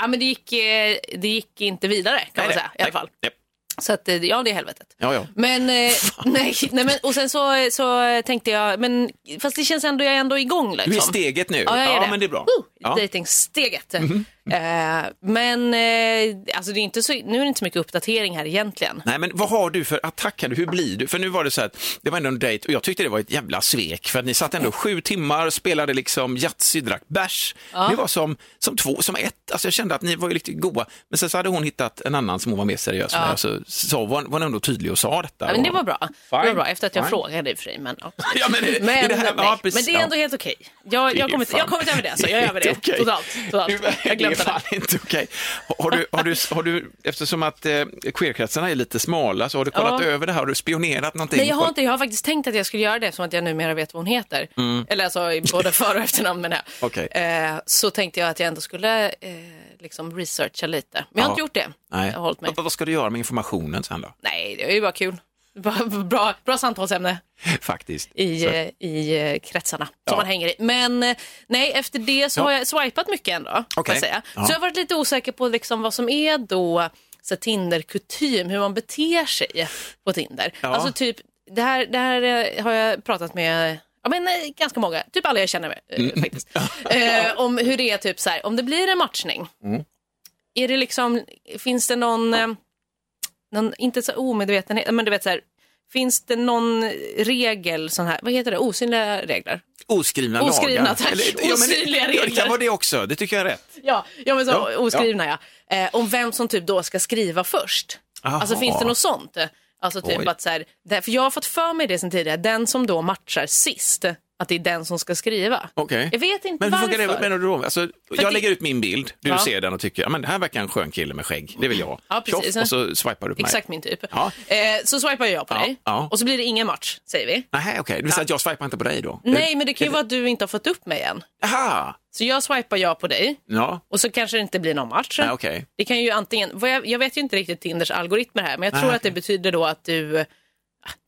D: Ja, men det gick, eh, det gick inte vidare kan man
E: Nej,
D: säga i
E: nej,
D: alla fall.
E: nej.
D: Så att, eh, ja, det är helvetet.
E: Ja, ja.
D: Men,
E: [LAUGHS]
D: eh, nej, nej, men och sen så, eh, så tänkte jag, men fast det känns ändå, jag är ändå igång liksom.
E: Du är i steget nu.
D: Ja, jag är det.
E: men det är bra.
D: Woo!
E: Ja. Mhm.
D: Dejtingsteget. Eh, men eh, alltså det är inte så, nu är det inte så mycket uppdatering här egentligen.
E: Nej, men vad har du för attack? här? Hur blir du? För nu var det så här, att det var ändå en dejt och jag tyckte det var ett jävla svek för att ni satt ändå sju timmar, spelade liksom Yatzy, drack bärs. Ni var som, som två, som ett. Alltså jag kände att ni var ju riktigt goa. Men sen så hade hon hittat en annan som hon var mer seriös med. Så, så var, var hon ändå tydlig och sa detta.
D: Ja, men det
E: Och-
D: var bra. Det var
E: Fine.
D: bra efter att jag
E: Fine.
D: frågade i och för sig. Men, ja.
E: Ja, men, är
D: Men,
E: det här,
D: nej,
E: ja,
D: men
E: precis,
D: det är ändå
E: ja.
D: helt okej. Jag,
E: Det är
D: jag har kommit,
E: fan-
D: jag har kommit över det, så Alltså, jag
E: är [LAUGHS]
D: är över det.
E: inte okej.
D: Totalt. totalt.
E: Det är-
D: Jag
E: det. är
D: glömde det.
E: fan inte okej. Har du, har du, har du, eftersom att eh, queerkretsarna är lite smala, så har du kollat
D: Ja.
E: över det här? Har du spionerat någonting?
D: Nej, jag har, inte, jag har faktiskt tänkt att jag skulle göra det som att jag numera vet vad hon heter. Eller alltså i både för och efternamn men här.
E: Mm. Okej.
D: eh, Så tänkte jag att jag ändå skulle eh, liksom researcha lite. Men jag har
E: Ja.
D: inte gjort det.
E: Nej.
D: Jag har hållit mig.
E: Vad- Vad ska du göra med informationen sen då?
D: Nej, det är ju bara kul. Bra, bra, bra samtalsämne
E: Faktiskt.
D: i,
E: Så-
D: eh, i eh, kretsarna som
E: Ja.
D: man hänger i. Men eh, nej, efter det så
E: Ja.
D: har jag swipat mycket ändå. får
E: Okej.
D: Jag säga.
E: Ja.
D: Så jag har varit lite osäker på liksom vad som är då så här Tinder-kutym, hur man beter sig på Tinder.
E: Ja.
D: Alltså typ, det här, det här eh, har jag pratat med Ja, men eh, ganska många, typ alla jag känner med, eh, faktiskt. Eh, om hur det är, typ så här, om det blir en matchning, är det liksom, finns det någon, eh, någon inte så omedvetenhet, men du vet så här, finns det någon regel, sån här, vad heter det, osynliga regler?
E: Oskrivna,
D: Oskrivna,
E: lagar.
D: tack.
E: ja, men-
D: Osynliga
E: ja, Det
D: regler.
E: kan vara det också, det tycker jag är rätt.
D: Ja, ja men så,
E: Ja,
D: oskrivna ja. Eh, om vem som typ då ska skriva först.
E: Aha.
D: Alltså finns det något sånt? Alltså typ
E: Oj.
D: att så här, där- för jag har fått för mig det sen tidigare, den som då matchar sist, att det är den som ska skriva.
E: Okej.
D: Jag vet inte
E: Men hur
D: varför.
E: funkar det? Menar du då? Alltså, jag
D: det-
E: lägger ut min bild, du
D: Ja.
E: ser den och tycker, ja men det här verkar en skön kille med skägg, det vill jag ha.
D: Ja, precis.
E: Tjoff, och så swipar du på
D: Exakt
E: mig.
D: min typ.
E: Ja.
D: Eh, så swipar jag på
E: Ja,
D: dig
E: ja.
D: och så blir det ingen match, säger vi.
E: Nej, okej, det vill säga att jag swipar inte på dig då?
D: Nej, men det kan ju vara att du inte har fått upp mig än.
E: Aha,
D: Så jag swipar ja på dig
E: ja,
D: och så kanske det inte blir någon match.
E: Nej, okej.
D: Det kan ju antingen, vad jag, jag vet ju inte riktigt Tinders algoritmer här, men jag
E: Nej,
D: tror att det betyder då att du, ah,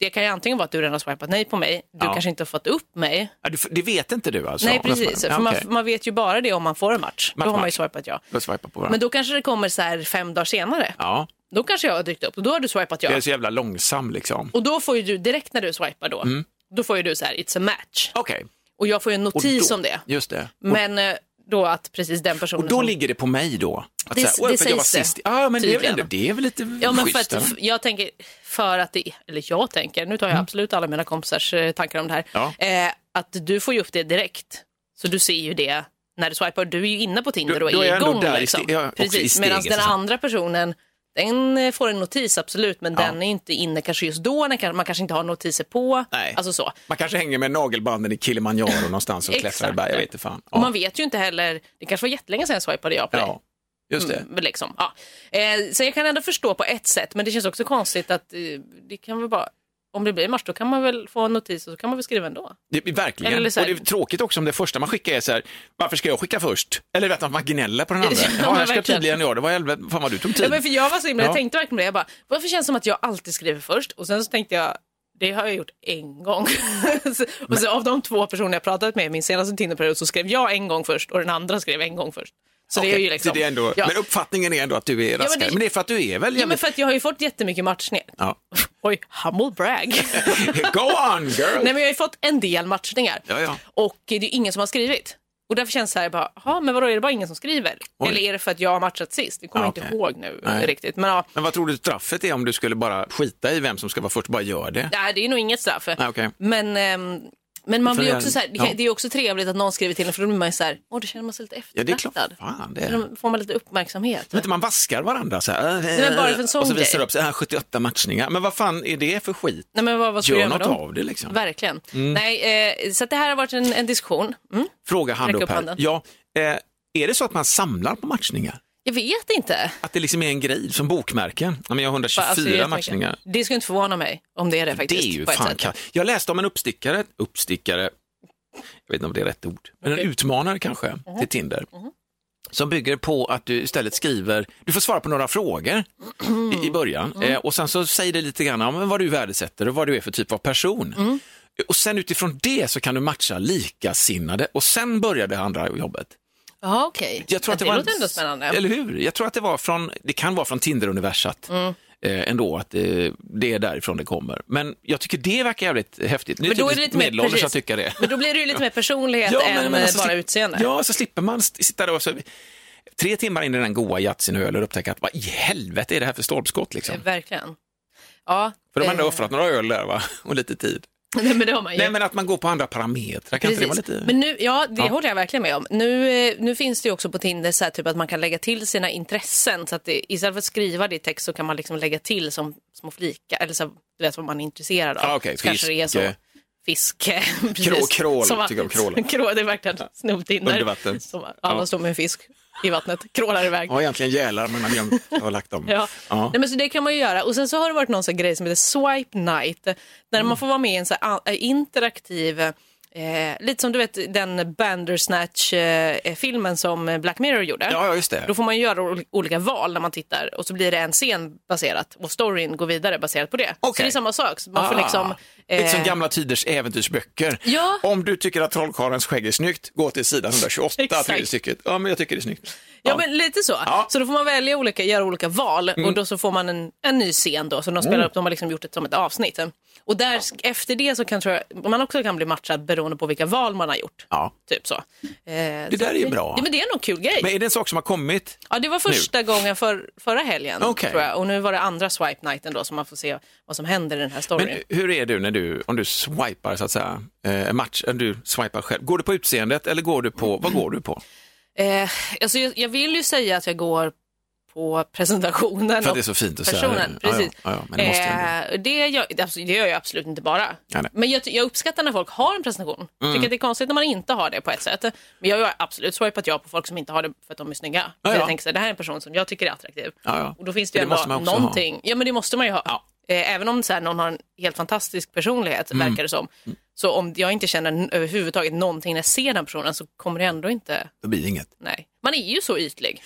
D: det kan ju antingen vara att du redan har swipat nej på mig, du
E: Ja.
D: kanske inte har fått upp mig.
E: Ja, du- det vet inte du alltså?
D: nej, precis.
E: Ja,
D: För man,
E: okej.
D: man vet ju bara det om man får en match.
E: Match,
D: då har man ju
E: match.
D: swipat ja.
E: Då swipar på varandra.
D: Men då kanske det kommer så här fem dagar senare.
E: Ja,
D: Då kanske jag har dykt upp och då har du swipat ja.
E: jag är så jävla långsam liksom.
D: Och då får ju du direkt när du swipar då, då får ju du så här it's a match.
E: Okej,
D: Och jag får ju en
E: Mm. och
D: notis
E: då-
D: om det.
E: Just det.
D: Men eh, då att precis den personen
E: Och då
D: som-
E: ligger det på mig då?
D: liksom.
E: Att
D: Det-
E: säga, "Oj,
D: det
E: för att jag var
D: sägs det,
E: sist. Ja, men det är, väl
D: tydligen.
E: ändå, det är väl lite
D: Ja, men för
E: schysst,
D: att,
E: eller?
D: f- jag tänker för att det, eller jag tänker, nu tar jag absolut alla mina kompisars eh, tankar om det här,
E: Mm. Ja.
D: eh, att du får ju upp det direkt. Så du ser ju det när du swipar. Du är ju inne på Tinder
E: Då-
D: och
E: då är
D: är
E: jag ändå
D: igång.
E: där i
D: liksom.
E: ste- ja, också i
D: Precis,
E: steget, liksom.
D: medan den
E: så att säga.
D: andra personen Den eh, får en notis absolut, men den är inte inne kanske just då. Den kan, man kanske inte har notiser på.
E: Nej.
D: Alltså så.
E: Man kanske hänger med nagelbanden i
D: [LAUGHS]
E: Kilimanjaro någonstans och klättrar i berg, jag vet inte fan.
D: Och man vet ju inte heller, det kanske var jättelänge sedan jag swipade jag på
E: ja, just det.
D: Mm, liksom. ja. eh, så jag kan ändå förstå på ett sätt, men det känns också konstigt att eh, det kan väl bara, om det blir en match då kan man väl få en notis och så kan man väl skriva ändå.
E: Det, verkligen.
D: Eller så här-
E: Och det är tråkigt också om det första man skickar är så här, varför ska jag skicka först? Eller att man
D: [LAUGHS]
E: gnäller på den andra.
D: Ja,
E: Ja, här ska
D: verkligen.
E: tydligen jag, det var helvete, fan vad du tog
D: Ja,
E: tid.
D: men för jag var så himla, jag
E: Ja.
D: tänkte verkligen på det, jag bara, varför känns det som att jag alltid skriver först? Och sen så tänkte jag, det har jag gjort en gång. [LAUGHS] Så- och så av de två personer jag pratat med i min senaste Tinderperiod så skrev jag en gång först och den andra skrev en gång först. Så det är
E: Okej,
D: ju liksom,
E: så det är ändå,
D: ja.
E: Men uppfattningen är ändå att du är raskare. men,
D: det-
E: det, är för att du är väl
D: ja, men för att jag har ju fått jättemycket matchningar.
E: Ja. [LAUGHS]
D: Oj, humble brag.
E: Go on girl!
D: Nej, men jag har ju fått en del matchningar
E: Ja, ja.
D: och det är ju ingen som har skrivit. Och därför känns det så här, bara, "Jaha, men vadå, är det bara ingen som skriver?
E: Oj.
D: Eller är det för att jag har matchat sist? Det kommer
E: Ja,
D: jag inte
E: okej.
D: ihåg nu
E: Nej.
D: riktigt. Men ja,
E: Men vad tror du straffet är om du skulle bara skita i vem som ska vara först, bara gör det?
D: nej, det är nog inget straff.
E: Nej, okej.
D: Men, ehm, men man
E: För
D: blir ju
E: det-
D: också så här, det,
E: ja.
D: kan, det är ju också trevligt att någon skriver till en för då blir man ju så här, åh, då känner man sig lite
E: Ja, det är klart.
D: eftertraktad.
E: Fan, det är-
D: Då får man lite uppmärksamhet.
E: Men inte man vaskar varandra så här. äh,
D: men bara för en sån
E: och så visar
D: grej.
E: det upp sig, äh, 78 matchningar. Men vad fan är det för skit?
D: Nej, men vad, vad ska
E: Gör
D: jag göra med
E: något
D: dem?
E: av det, liksom.
D: Verkligen. Nej, eh, så att det här har varit en, en diskussion. Mm.
E: Fråga hand
D: Räck
E: upp
D: upp
E: här.
D: handen.
E: Ja, eh, är det så att man samlar på matchningar?
D: Jag vet inte.
E: Att det liksom är en grej, som bokmärken? Ja, men jag har 124
D: Alltså, det är jättemycket.
E: matchningar.
D: Det skulle inte förvåna mig om det är det
E: Det
D: faktiskt.
E: är ju
D: på ett
E: fan
D: sätt.
E: ka- Jag läste om en uppstickare, uppstickare, jag vet inte om det är rätt ord, men en utmanare kanske
D: Mhm.
E: till Tinder. Som bygger på att du istället skriver, du får svara på några frågor i, i början
D: Mm.
E: eh, och sen så säger det lite grann om vad du värdesätter och vad du är för typ av person.
D: Mm.
E: Och sen utifrån det så kan du matcha likasinnade och sen börjar det andra jobbet.
D: Ja, okej.
E: Jag tror att det,
D: det
E: var
D: låter ändå spännande.
E: Eller hur? Jag tror att det var från, det kan vara från Tinder-universat
D: Mm.
E: eh, ändå, att eh, det är därifrån det kommer. Men jag tycker det verkar jävligt häftigt. Nu typ
D: Men då är det
E: typiskt
D: lite mer-
E: medelålders
D: precis.
E: att tycka det.
D: Men då blir det ju lite mer personlighet
E: men-
D: än
E: men
D: eh,
E: alltså,
D: bara
E: slip-
D: utseende.
E: Ja, så slipper man st- sitta där och så, tre timmar in i den goa jazzin och öl och upptäcka att vad i helvete är det här för stolpskott liksom?
D: Eh, Verkligen. Ja,
E: För de
D: eh,
E: har ändå offrat några öl där va? och lite tid.
D: [LAUGHS] Nej, men det har man ju.
E: Nej men att man går på andra parametrar, kan inte det vara
D: Precis.
E: lite...
D: Men nu, ja, det håller jag verkligen med om. Nu, eh, nu finns det ju också på Tinder så här, typ att man kan lägga till sina intressen. Så att det, istället för att skriva det i text så kan man liksom lägga till som små flikar. Eller så, här, du vet vad man är intresserad av.
E: Ah, okej,
D: så kanske det är så.
E: fiske.
D: Fiske. [LAUGHS] precis.
E: Krå- krål,
D: Som var-
E: tycker jag
D: [LAUGHS]
E: om krål.
D: Krål, det är verkligen snubbtinder.
E: Under vatten.
D: Som var- Alla
E: Ja.
D: står med en fisk i vattnet, krålar iväg.
E: Ja, egentligen gälar men man har glömt- jag har lagt dem.
D: [LAUGHS] Ja. Nej, men så det kan man ju göra. Och sen så har det varit någon sån grej som heter Swipe Night. Där man får vara med i en så här a- interaktiv, eh, lite som du vet den Bandersnatch-filmen som eh, Black Mirror gjorde.
E: Ja, ja, just det.
D: Då får man ju göra ol- olika val när man tittar och så blir det en scen baserat och storyn går vidare baserat på det. Så
E: Okej.
D: det är samma sak. Så man får
E: Ah,
D: liksom...
E: Lite som
D: eh,
E: gamla tiders äventyrsböcker.
D: Ja.
E: Om du tycker att trollkarlens skägg är snyggt, gå
D: [LAUGHS]
E: till sidan 128,
D: Exakt.
E: tredje stycket. Ja, men jag tycker det är snyggt.
D: Ja, men lite så.
E: Ja. Mm.
D: Så då får man välja olika, göra olika val och då så får man en, en ny scen då som de spelar upp. De har liksom gjort det som ett avsnitt. Och där, efter det så kan tror jag, man också kan bli matchad beroende på vilka val man har gjort.
E: Ja.
D: Typ så. Eh,
E: Det där är ju bra.
D: Ja, men det är nog en kul grej.
E: Men är det en sak som har kommit?
D: Ja, det var första gången för, förra helgen
E: Okej.
D: tror jag. Och nu var det andra swipe nighten då så man får se vad som händer i den här storyn.
E: Men hur är du när du, om du swipar så att säga, eh, en match, om du swipar själv, går du på utseendet eller går du på, vad går du på?
D: Eh, alltså jag, jag vill ju säga att jag går på presentationen.
E: att
D: och
E: det är så fint att säga
D: personen.
E: det. Ja, ja,
D: Precis.
E: ja, ja, men det måste jag
D: eh, det, gör, alltså, det gör jag absolut inte bara.
E: Ja, nej. Mm.
D: men jag, ty- jag uppskattar när folk har en presentation. Tycker att det är konstigt när man inte har det på ett sätt. Men jag har absolut swipat ja på folk som inte har det för att de är snygga.
E: Ja,
D: Så
E: ja.
D: Jag tänker så här, det här är en person som jag tycker är attraktiv.
E: Ja, ja.
D: Och då finns det ju
E: Det
D: ändå
E: måste man också
D: någonting. Ja, men det måste man ju ha. Eh, även om så här, någon har en helt fantastisk personlighet,
E: Mm.
D: verkar det som. Så om jag inte känner n- överhuvudtaget någonting när jag ser den personen så kommer det ändå inte
E: Det blir inget.
D: Nej. Man är ju så ytlig.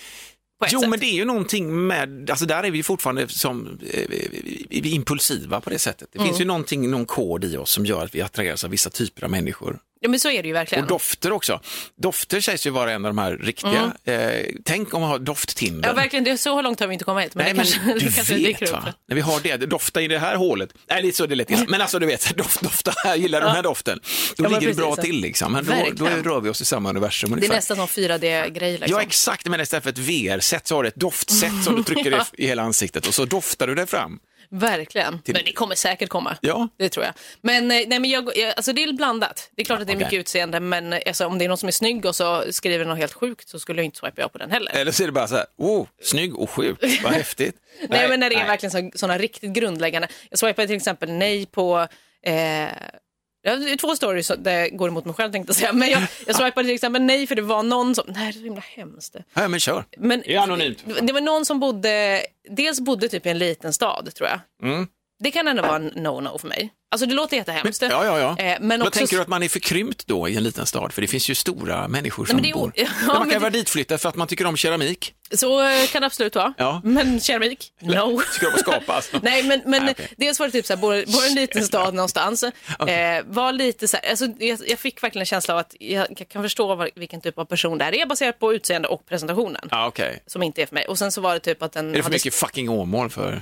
D: På ett
E: Jo,
D: sätt.
E: men det är ju någonting med, alltså där är vi ju fortfarande som, eh, vi- vi- vi är impulsiva på det sättet. Det
D: Mm.
E: finns ju någonting, någon kod i oss som gör att vi attraheras av vissa typer av människor.
D: Ja, men så är det ju verkligen.
E: Och dofter också. Dofter sägs ju vara en av de här riktiga. Eh, tänk om man har dofttinder.
D: Mm. ja, verkligen. Det, så långt har vi inte kommit hit. Men
E: Nej,
D: det
E: men
D: kanske,
E: du
D: [LAUGHS] det kanske dyker
E: vet
D: upp.
E: va? När vi har det, dofta i det här hålet. Nej, det är så
D: [LAUGHS]
E: det lät. Men alltså du vet, [LAUGHS] doft, dofta här, gillar du den här doften? Då
D: men
E: ligger det
D: precis
E: bra
D: så.
E: till liksom. Men då, då
D: Verkligen.
E: rör vi oss i samma universum
D: Det
E: ungefär.
D: är nästan som 4D-grej. Liksom. [LAUGHS]
E: Ja, exakt. Men istället för ett VR-set så har du ett doftset som du trycker i i hela ansiktet och så doftar du det fram.
D: Verkligen. Men det kommer säkert komma.
E: Ja.
D: Det tror jag. Men, eh, nej, men jag, jag, alltså det är blandat. Det är klart att det är
E: Okej.
D: mycket utseende, men eh, alltså, om det är någon som är snygg och så skriver något helt sjukt så skulle jag inte swipa ja på den heller.
E: Eller så är det bara så här, oh, snygg och sjuk, vad häftigt.
D: [LAUGHS] Nej, men när det är verkligen sådana riktigt grundläggande. Jag swipade till exempel nej på eh, jag har två stories som- där jag går emot mig själv tänkte jag säga. Men jag, jag swipade till exempel nej för det var någon som, nej det är så himla hemskt.
E: Ja, men kör.
D: Men,
E: Det är anonymt.
D: Det var någon som bodde, dels bodde typ i en liten stad tror jag.
E: Mm.
D: Det kan ändå vara en no-no för mig. Alltså det låter jättehemskt.
E: Ja, ja, ja.
D: Eh, Men
E: Vad
D: också,
E: tänker du att man är förkrympt då i en liten stad? För det finns ju stora människor
D: Nej,
E: som
D: men det är o-
E: bor.
D: [LAUGHS] Ja,
E: man kan
D: men
E: ju
D: det-
E: vara ditflyttad för att man tycker om keramik.
D: Så eh, kan det absolut vara.
E: Ja.
D: Men keramik? No.
E: [LAUGHS] Tycker om att skapa. Alltså.
D: [LAUGHS] Nej, men, men
E: Nej, okej.
D: dels var det typ så här, bor, bor i en liten stad någonstans. Eh, var lite så här, alltså, jag, jag fick verkligen en känsla av att jag, jag kan förstå vad, vilken typ av person det här är baserat på utseende och presentationen.
E: Ja, okej.
D: Som inte är för mig. Och sen så var det typ att den
E: Är det för
D: hade-
E: mycket fucking Åmål för?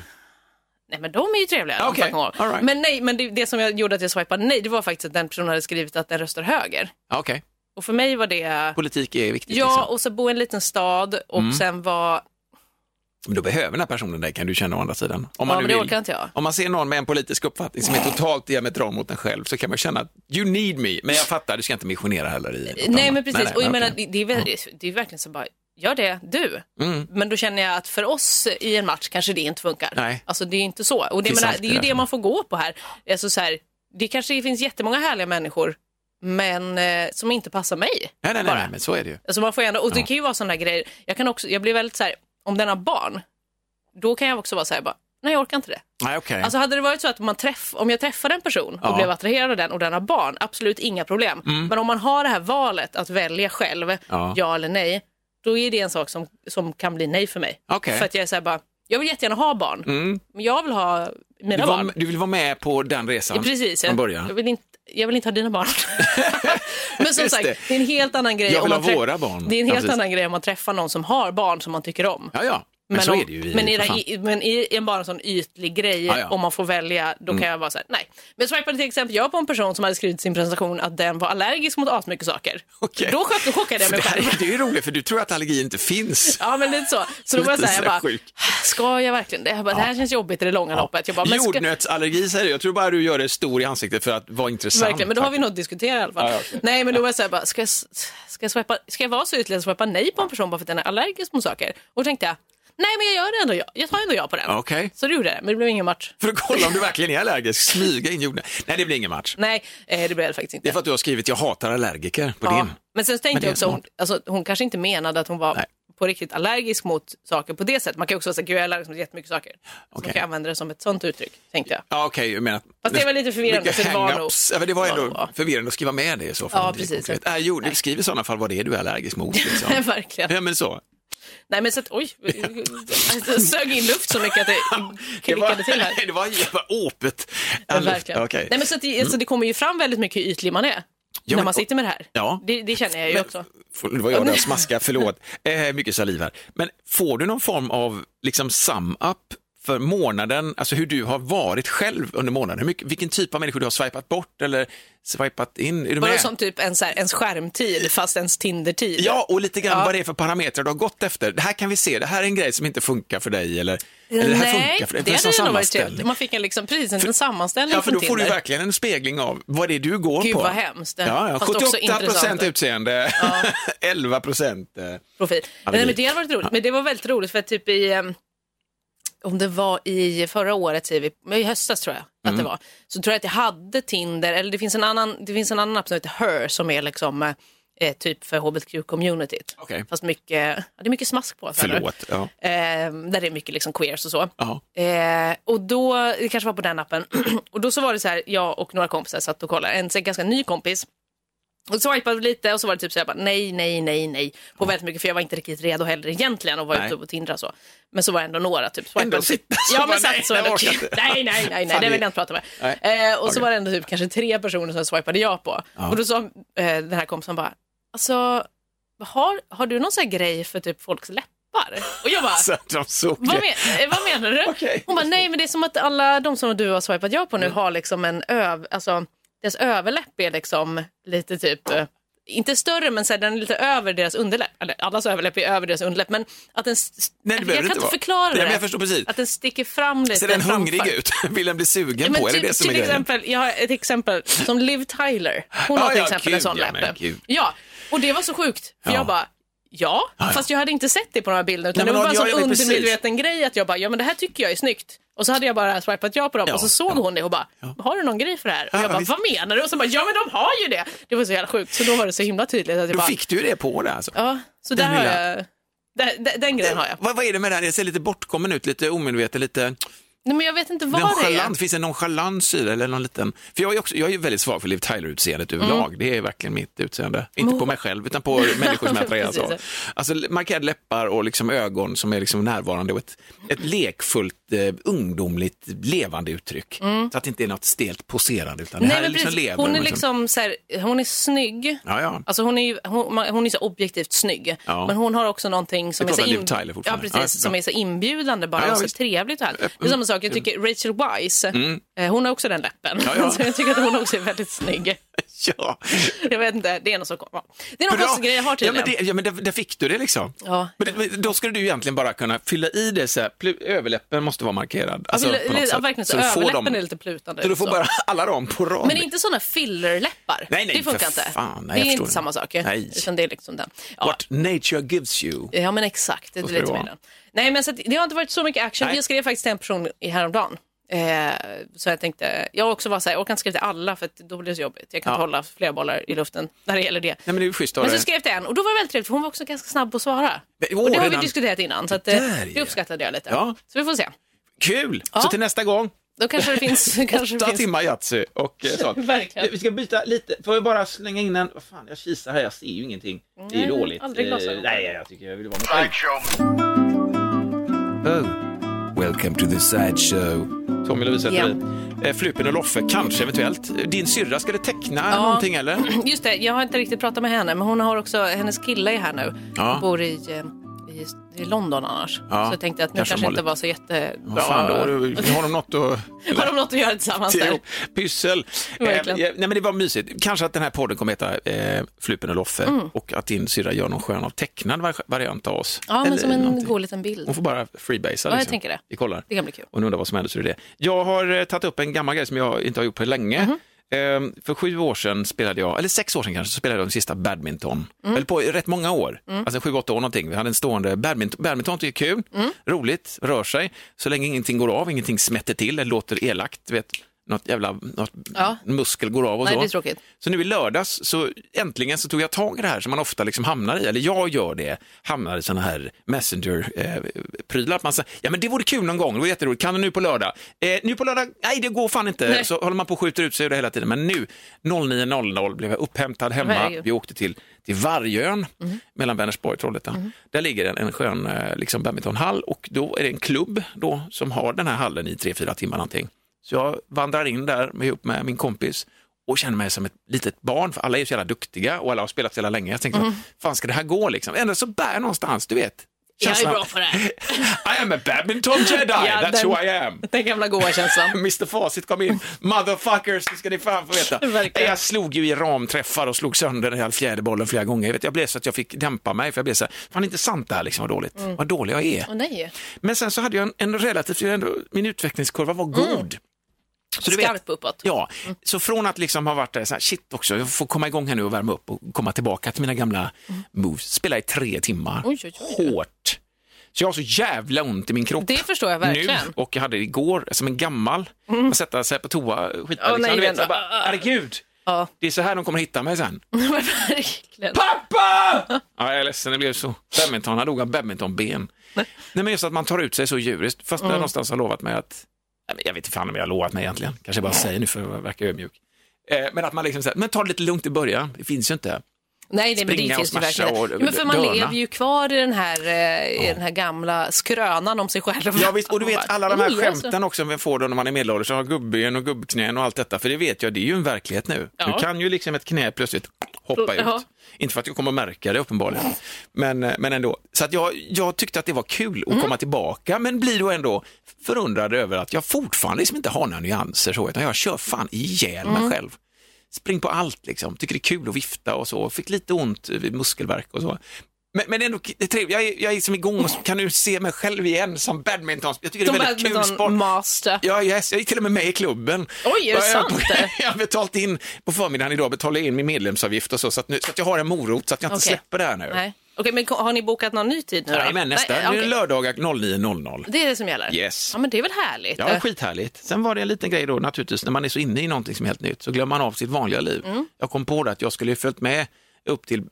D: Nej men de är ju trevliga.
E: Ah, okej.
D: de fucking har.
E: All right.
D: Men nej, men det, det som jag gjorde att jag swipade nej, det var faktiskt att den personen hade skrivit att den röstar höger.
E: Ja, Okej,
D: Och för mig var det,
E: politik är viktigt.
D: ja,
E: liksom. Mm.
D: och så bo i en liten stad och sen var,
E: Men då behöver den här personen dig kan du känna å andra sidan. Om
D: ja
E: man
D: men
E: nu
D: det
E: vill.
D: orkar inte jag.
E: Om man ser någon med en politisk uppfattning som är totalt diametral mot en själv så kan man känna att you need me. Men jag fattar, du ska inte missionera heller i något
D: Nej
E: annat.
D: men precis, och jag menar,
E: okej.
D: det, det, är väl, det är verkligen så bara, gör det du.
E: Mm.
D: Men då känner jag att för oss i en match kanske det inte funkar.
E: Nej.
D: Alltså det är ju inte så. Och det,
E: Finns
D: menar, det
E: alltid
D: är ju
E: där
D: det
E: som-
D: man får gå på här. Alltså, så här det kanske finns jättemånga härliga människor, men eh, som inte passar mig.
E: Nej, nej, nej,
D: bara.
E: nej, men så är det ju.
D: Alltså man får ändå, och det
E: Ja.
D: kan ju vara sådana grejer, jag kan också, jag blir väldigt så här, om den har barn, då kan jag också vara så här bara, nej jag orkar inte det.
E: Nej, okej.
D: Alltså hade det varit så att man träff, om jag träffade en person och
E: Ja. Mm.
D: blev attraherad av den och den har barn, absolut inga problem. Men om man har det här valet att välja själv,
E: Ja.
D: ja, eller nej, då är det en sak som, som kan bli nej för mig.
E: Okej.
D: För att jag är så här bara, jag vill jättegärna ha barn,
E: Mm.
D: men jag vill ha mina
E: Du,
D: barn.
E: var, du vill vara med på den
D: Ja,
E: resan
D: precis,
E: från
D: jag, jag,
E: början?
D: vill inte, jag vill inte ha dina
E: [LAUGHS]
D: barn. men som
E: Just
D: sagt,
E: det.
D: det. är en helt annan grej.
E: Jag vill
D: om man
E: ha
D: träff-
E: våra barn.
D: Det är en
E: Ja,
D: helt
E: precis.
D: annan grej om man träffar någon som har barn som man tycker om.
E: Ja, ja. Men, så
D: om,
E: är det ju. i-
D: men, i,
E: för
D: det
E: fan.
D: här- i, men i en bara en sån ytlig grej,
E: Ja, Mm. ja.
D: om man får välja, då kan jag vara så här, nej. Men swipade till exempel jag på en person som hade skrivit i sin presentation att den var allergisk mot asmycket saker.
E: Okej.
D: Då chock- då chockade jag
E: För
D: mig
E: det, här,
D: själv.
E: är- det är ju roligt, för du tror att allergi inte finns.
D: [LAUGHS] Ja men lite så. Så
E: [LAUGHS]
D: då var jag
E: Lite
D: så här,
E: så här
D: jag bara,
E: sjuk.
D: ska jag verkligen det? Jag bara, Det här känns jobbigt i det långa loppet. Jag bara, men ska,
E: Jordnötsallergi säger du, jag tror bara du gör det stor i ansiktet för att vara intressant.
D: Verkligen, men då har vi något att diskutera i alla fall.
E: Ja, ja, okej.
D: Nej, men då var jag så här, bara, ska, jag, ska, jag swipa, ska jag vara så ytlig att swipa nej på en person bara för att den är allergisk mot saker? Och då tänkte jag, nej men jag gör det ändå, jag, jag tar ändå ja på den.
E: Okej,
D: Så det gjorde jag, men det blev ingen match.
E: för att kolla om du verkligen är allergisk, smyga in jordnöt. Nej, det blir ingen match.
D: Nej, eh, det blev det faktiskt
E: Det
D: inte.
E: är för att du har skrivit jag hatar allergiker på
D: ja.
E: din.
D: Men sen så
E: Men
D: tänkte
E: det är
D: jag också, hon,
E: smart.
D: alltså, hon kanske inte menade att hon var
E: Nej.
D: på riktigt allergisk mot saker på det sättet. Man kan ju också säga, gud jag är allergisk mot jättemycket saker. Så
E: Okej.
D: man kan använda det som ett sånt uttryck, tänkte jag.
E: Ja, okej, jag menar...
D: Fast det var lite förvirrande,
E: Mycket
D: för det var nog-
E: hang-ups. Ja, men det var
D: det var nog
E: ändå
D: bra.
E: förvirrande att skriva med det i så fall.
D: Ja,
E: Det är
D: precis.
E: konkret. Nej, jo, du skriver i sådana fall vad det är du är allergisk mot.
D: [LAUGHS]
E: Liksom.
D: Verkligen.
E: ja, men så.
D: Nej men så att, oj, alltså, jag sög in luft så
E: [LAUGHS]
D: mycket att det klickade till här.
E: Nej, [LAUGHS] det var, det var åpet. Alltså,
D: Ja, verkligen.
E: Okej. Mm.
D: Nej, men så att, det- alltså, det kommer ju fram väldigt mycket hur ytlig man är
E: Ja,
D: när
E: men-
D: man sitter med det här.
E: Ja.
D: Det, det känner jag ju
E: Men-
D: också.
E: Får- Det var
D: [LAUGHS]
E: jag där smaska, förlåt. Eh, mycket saliv här. Men får du någon form av liksom sum-up för månaden, alltså hur du har varit själv under månaden? Hur mycket, vilken typ av människor du har swipat bort eller swipat in? Är du
D: Var det
E: med?
D: som typ en, så här, ens skärmtid fast ens Tinder-tid?
E: Ja, och lite grann vad det är för parametrar du har gått efter. Det här kan vi se, det här är en grej som inte funkar för dig eller, eller det här
D: Nej,
E: funkar för dig.
D: det
E: en sån
D: hade nog varit
E: sammanställning.
D: trevligt. Man fick en, liksom, precis en, en sammanställning
E: Ja, för då
D: från
E: får du
D: Tinder.
E: verkligen en spegling av vad det är du går
D: Gud,
E: på.
D: vad hemskt.
E: Ja, ja.
D: Fast också
E: 78
D: intressant.
E: procent utseende, [LAUGHS] 11 procent. eh,
D: profil.
E: Ja, det-
D: Nej, men det hade varit roligt. Men det var väldigt roligt för att typ i, ehm, om det var i förra året, säger vi, men i höstas tror jag
E: Mm.
D: att det var, så tror jag att jag hade Tinder, eller det finns en annan, det finns en annan app som heter Her som är liksom eh, typ för hbtq-communityt.
E: Okej.
D: Fast mycket, ja, det är mycket smask på. så här nu.
E: Förlåt. Ja.
D: Ehm, där det är mycket liksom queers och så.
E: Ja.
D: Eh, och då, det kanske var på den appen, [CLEARS THROAT] och då så var det så här, jag och några kompisar satt och kollade, en så här ganska ny kompis. Och så swipade vi lite och så var det typ så här, bara, nej, nej, nej, nej. På väldigt mycket, för jag var inte riktigt redo heller egentligen och var
E: Nej.
D: ute och Tindra så. Men så var det ändå några typ. swipade
E: Ändå
D: typ-
E: sitta så
D: Ja,
E: bara,
D: men satt så
E: nej,
D: ändå.
E: jag orkar inte.
D: [LAUGHS] Nej, nej, nej, nej,
E: Fan,
D: det vill
E: det-
D: jag inte prata med.
E: Nej.
D: Eh, och så
E: Okej.
D: var det ändå typ kanske tre personer som swipade jag på.
E: Ja.
D: Och då sa eh, den här kompisen bara, alltså, har, har du någon sån här grej för typ folks läppar? Och jag bara,
E: Så att de såg
D: vad,
E: det.
D: men, eh, vad menar du?
E: [LAUGHS] Okej.
D: Hon bara, nej men det är som att alla de som du har swipat ja på nu har liksom en öv, alltså deras överläpp är liksom lite typ eh, inte större, men så här, den är lite över deras underläpp. Eller allas överläpp är över deras underläpp, men att den... st-
E: Nej, det
D: jag kan
E: behöver det
D: inte
E: inte vara.
D: förklara
E: Nej,
D: det.
E: men jag förstår precis.
D: Att den sticker fram lite
E: Ser den
D: framför.
E: hungrig ut? [LAUGHS] Vill den bli sugen
D: Ja,
E: på?
D: men typ-
E: Är
D: till,
E: det det som är
D: till
E: grejen?
D: exempel, jag har ett exempel som Liv Tyler. Hon
E: Ja,
D: har till
E: ja,
D: exempel en
E: gud,
D: sån
E: ja, men
D: läpp.
E: gud.
D: Ja, och det var så sjukt. För
E: Ja. Ah,
D: jag bara, ja, fast jag hade inte sett det på några bilder. Utan
E: Nej, men
D: det var bara
E: ja,
D: en sån
E: ja, men precis.
D: undermedveten grej att jag bara, ja men det här tycker jag är snyggt. Och så hade jag bara swipat ja på dem
E: Ja,
D: och så såg
E: ja.
D: hon det och bara, har du någon grej för det här? Och
E: Ja,
D: jag bara,
E: visst.
D: vad menar du? Och så bara, ja men de har ju det. Det var så jävla sjukt. Så då var det så himla tydligt att jag
E: Då
D: bara,
E: fick du ju det på det alltså.
D: ja, så där
E: Den
D: har
E: lilla-
D: jag, där, där, den grejen har jag.
E: Vad, vad är det med den? Jag ser lite bortkommen ut, lite omedveten, lite
D: Nej men jag vet inte vad det är.
E: nonchalant. Finns det en nonchalans i det? Eller någon liten... För jag är, också, jag är ju väldigt svag för Liv Tyler-utseendet överlag.
D: Mm.
E: Det är verkligen mitt utseende. Inte på mig själv, utan på människor
D: [LAUGHS]
E: som jag attraheras av.
D: Precis.
E: Alltså markerade läppar och liksom ögon som är liksom närvarande och ett, ett lekfullt, eh, ungdomligt, levande uttryck. Så att det inte är något stelt poserande, utan det
D: Mm. Nej
E: här är
D: men
E: liksom
D: precis,
E: lever.
D: hon är
E: och
D: liksom så här, hon är snygg.
E: Ja, ja.
D: [LAUGHS] Alltså hon är ju hon, man- hon är så objektivt snygg,
E: Ja.
D: men hon har också någonting som
E: Vi
D: är så,
E: pratar Liv Tyler
D: ja,
E: fortfarande.
D: precis,
E: Ja,
D: som
E: bra.
D: är så inbjudande bara
E: Ja, ja,
D: och så
E: visst.
D: trevligt och härligt. Det är samma sak, jag tycker Rachel Wise, eh, hon har också den läppen.
E: Ja,
D: [LAUGHS]
E: ja.
D: så jag tycker att hon också är väldigt snygg.
E: Ja.
D: Jag vet inte, det är något som kommer. Det är någon
E: Bra.
D: konstig grej jag har
E: ja,
D: tydligen.
E: men, det, ja, men där, där fick du det liksom.
D: Ja.
E: Men, det- men då skulle du egentligen bara kunna fylla i det så här, plu- överläppen måste vara markerad.
D: Alltså,
E: Alltså, på något
D: eller- ja,
E: sätt.
D: verkligen, så
E: du får
D: överläppen
E: dem-
D: är lite plutande.
E: Så du
D: ut
E: får
D: så.
E: bara [LAUGHS] alla dem på rad.
D: Men inte sådana fillerläppar.
E: Nej, nej,
D: det funkar
E: för
D: inte.
E: fan, nej,
D: det
E: jag
D: är
E: förstår
D: inte
E: det.
D: samma sak. ju.
E: Nej.
D: Utan det är liksom den. Ja.
E: What nature gives you.
D: Ja men exakt, det är
E: Så ska
D: lite
E: det
D: mer
E: vara.
D: den. Nej men så att, det har inte varit så mycket action.
E: Nej.
D: Jag skrev faktiskt till en person i häromdagen. Eh, så jag tänkte, jag också var så här, jag kan inte skriva till alla för att då blir det så jobbigt. Jag kan inte hålla flera bollar i luften när det gäller det.
E: Nej, men det är ju schysst av
D: Men så
E: dig.
D: skrev jag till en och då var det väldigt trevligt för hon var också ganska snabb på att svara.
E: Men- åh,
D: och det har vi
E: redan-
D: diskuterat innan så att, eh,
E: Det där,
D: det
E: ja.
D: uppskattade jag lite.
E: Ja.
D: Så vi får se.
E: Kul! Så till nästa gång,
D: Då kanske
E: [LAUGHS]
D: det finns... kanske det
E: åtta
D: finns...
E: timmar Yatzy och eh,
D: [LAUGHS]
E: sånt.
D: Verkligen.
E: Vi ska byta lite, får jag bara slänga in en, vad fan jag kisar här, jag ser ju ingenting. Det är ju dåligt.
D: aldrig
E: Eh,
D: glasögon.
E: Nej, jag tycker jag vill vara med. Oh. Welcome to the side show. Tommy Lovisa
D: Ja.
E: yeah. eh, Flupen och Loffe, kanske eventuellt. Din syrra, ska du teckna
D: [CLEARS THROAT]
E: någonting eller?
D: Just det, jag har inte riktigt pratat med henne, men hon har också, hennes kille är här nu.
E: Ja.
D: Hon bor i, eh, i, i London annars.
E: Ja,
D: Så jag tänkte att nu
E: kanske
D: kanske,
E: de har
D: inte
E: lite-
D: var så jättebra.
E: Vad fan, då har, du, har de något
D: [LAUGHS]
E: att...
D: Har de något att göra tillsammans
E: till
D: där?
E: ihop. Pyssel. Eh, eh,
D: Verkligen.
E: nej, men det var mysigt. Kanske att den här podden kommer heta eh, Flupen och Loffe
D: Mm.
E: och att din syrra gör någon skön av tecknad var- variant av oss.
D: Ja, men
E: Eller
D: som en
E: någonting.
D: god liten
E: Hon
D: bild.
E: får bara freebasea. liksom.
D: Ja, jag tänker det.
E: Vi kollar.
D: Det kan bli kul.
E: Och ni undrar vad som händer så är det det. Jag har eh, tagit upp en gammal grej som jag inte har gjort på länge.
D: Mhm.
E: Ehm, för sju år sedan spelade jag, eller sex år sedan kanske, så spelade jag den sista badminton. Jag
D: Mm.
E: höll på i rätt många år, alltså sju, åtta år någonting. Vi hade en stående badminton. Badminton tycker jag är kul,
D: Mm.
E: roligt, rör sig. Så länge ingenting går av, ingenting smätter till eller låter elakt. du Vet, något jävla något
D: Ja.
E: muskel går av och
D: Nej,
E: så.
D: det är tråkigt.
E: Så nu i lördags så äntligen så tog jag tag i det här som man ofta liksom hamnar i, eller jag gör det, hamnar i sådana här Messenger-prylar. att man säger, ja men det vore kul någon gång, det vore jätteroligt, kan du nu på lördag? Eh, nu på lördag, nej det går fan inte.
D: Nej.
E: Så håller man på och skjuter ut sig ur det hela tiden. Men nu, 09.00 blev jag upphämtad hemma.
D: Herregud.
E: Vi åkte till, till Vargön
D: Mhm.
E: mellan Vänersborg och Trollhättan. Där ligger en, en skön eh, liksom badmintonhall och då är det en klubb då, som har den här hallen i tre fyra timmar någonting. Så jag vandrar in där med- ihop med min kompis och känner mig som ett litet barn, för alla är så jävla duktiga och alla har spelat så jävla länge. Jag tänkte,
D: Mhm.
E: mm. fan ska det här gå liksom? Ändå så bär jag någonstans, du vet.
D: Jag är
E: Känslan- [LAUGHS]
D: bra på det här. [LAUGHS]
E: I am a badminton jedi,
D: Ja,
E: that's
D: den-
E: who I am.
D: Den gamla goa
E: [LAUGHS]
D: känslan.
E: Mr Facit kom in. Motherfuckers, det ska ni fan få
D: [LAUGHS]
E: veta.
D: Verkligen.
E: Jag slog ju i ramträffar och slog sönder den här fjäderbollen flera gånger. Jag, vet, jag blev så att jag fick dämpa mig, för jag blev så här, fan det är inte sant det här liksom, vad dåligt.
D: Mm.
E: Vad dålig jag är.
D: Åh nej,
E: Men sen så hade jag en, en relativt, ändå, min utvecklingskurva var god. Så du vet,
D: skarp Mm. uppåt. Mm.
E: Ja, så från att liksom ha varit där, så här, shit också, jag får komma igång här nu och värma upp och komma tillbaka till mina gamla moves. Spela i tre timmar,
D: Mm. Oj, oj, oj.
E: hårt. Så jag har så jävla ont i min kropp.
D: Det förstår jag verkligen.
E: Nu, och jag hade det igår, som en gammal, mm. att sätta sig på toa, skita
D: Åh,
E: liksom.
D: nej,
E: du vet,
D: vänta.
E: så jag bara, herregud,
D: Ja. Mm.
E: det är så här de kommer hitta mig sen.
D: [LAUGHS] verkligen.
E: Pappa! Ja, jag är ledsen, det blev så. Badminton, han dog av badmintonben. Nej. men just att man tar ut sig så djuriskt, fast jag
D: Mm.
E: någonstans har lovat mig att, Nej, men jag vet inte fan om jag har lovat mig egentligen, kanske jag bara säger nu för att verka ödmjuk. Eh, Men att man liksom säger, men ta det lite lugnt i början, det finns ju inte.
D: Nej, nej, men det
E: Springa och
D: finns ju
E: smasha
D: verkligen
E: och
D: Ja, Men för man
E: dörna.
D: lever ju kvar i den här, eh, i den här gamla skrönan om sig själv.
E: Ja, visst, och du
D: Man
E: vet
D: bara,
E: alla
D: [LAUGHS]
E: de här
D: "Oj, alltså."
E: skämten också, vem får det när man är medelålders, har gubbben och gubbknän och allt detta, för det vet jag, det är ju en verklighet nu.
D: Ja.
E: Du kan ju liksom ett knä plötsligt hoppa ut.
D: Ja.
E: Inte för att jag kommer att märka det uppenbarligen, men, eh, men ändå. Så att jag, jag tyckte att det var kul
D: Mm.
E: att komma tillbaka, men blir då ändå
D: Mm.
E: förundrad över att jag fortfarande liksom inte har några nyanser så, utan jag kör fan ihjäl mig själv. spring på allt liksom, tycker det är kul att vifta och så, fick lite ont vid muskelvärk och så. Men, men det är ändå det är trevligt, jag är, jag är som igång och kan nu se mig själv igen som badminton. Jag tycker det är
D: De
E: väldigt kul
D: badminton
E: sport.
D: master.
E: Ja, yes, jag gick till och med med i klubben.
D: Oj, är det
E: Ja, jag-
D: sant det?
E: [LAUGHS] Jag har betalt in, på förmiddagen idag betalade jag in min medlemsavgift och så, så att, nu, så att jag har en morot så att jag inte
D: Okej.
E: släpper det här nu.
D: Nej. Okej, men har ni bokat någon ny tid nu då?
E: Nej, men nästa.
D: Nej,
E: Nu är
D: okej.
E: det lördagar 09.00.
D: Det är det som gäller?
E: Yes.
D: Ja, men det är väl härligt?
E: Ja, skithärligt. Sen var det en liten grej då naturligtvis, när man är så inne i någonting som är helt nytt så glömmer man av sitt vanliga liv.
D: Mm.
E: Jag kom på det att jag skulle ju följt med upp till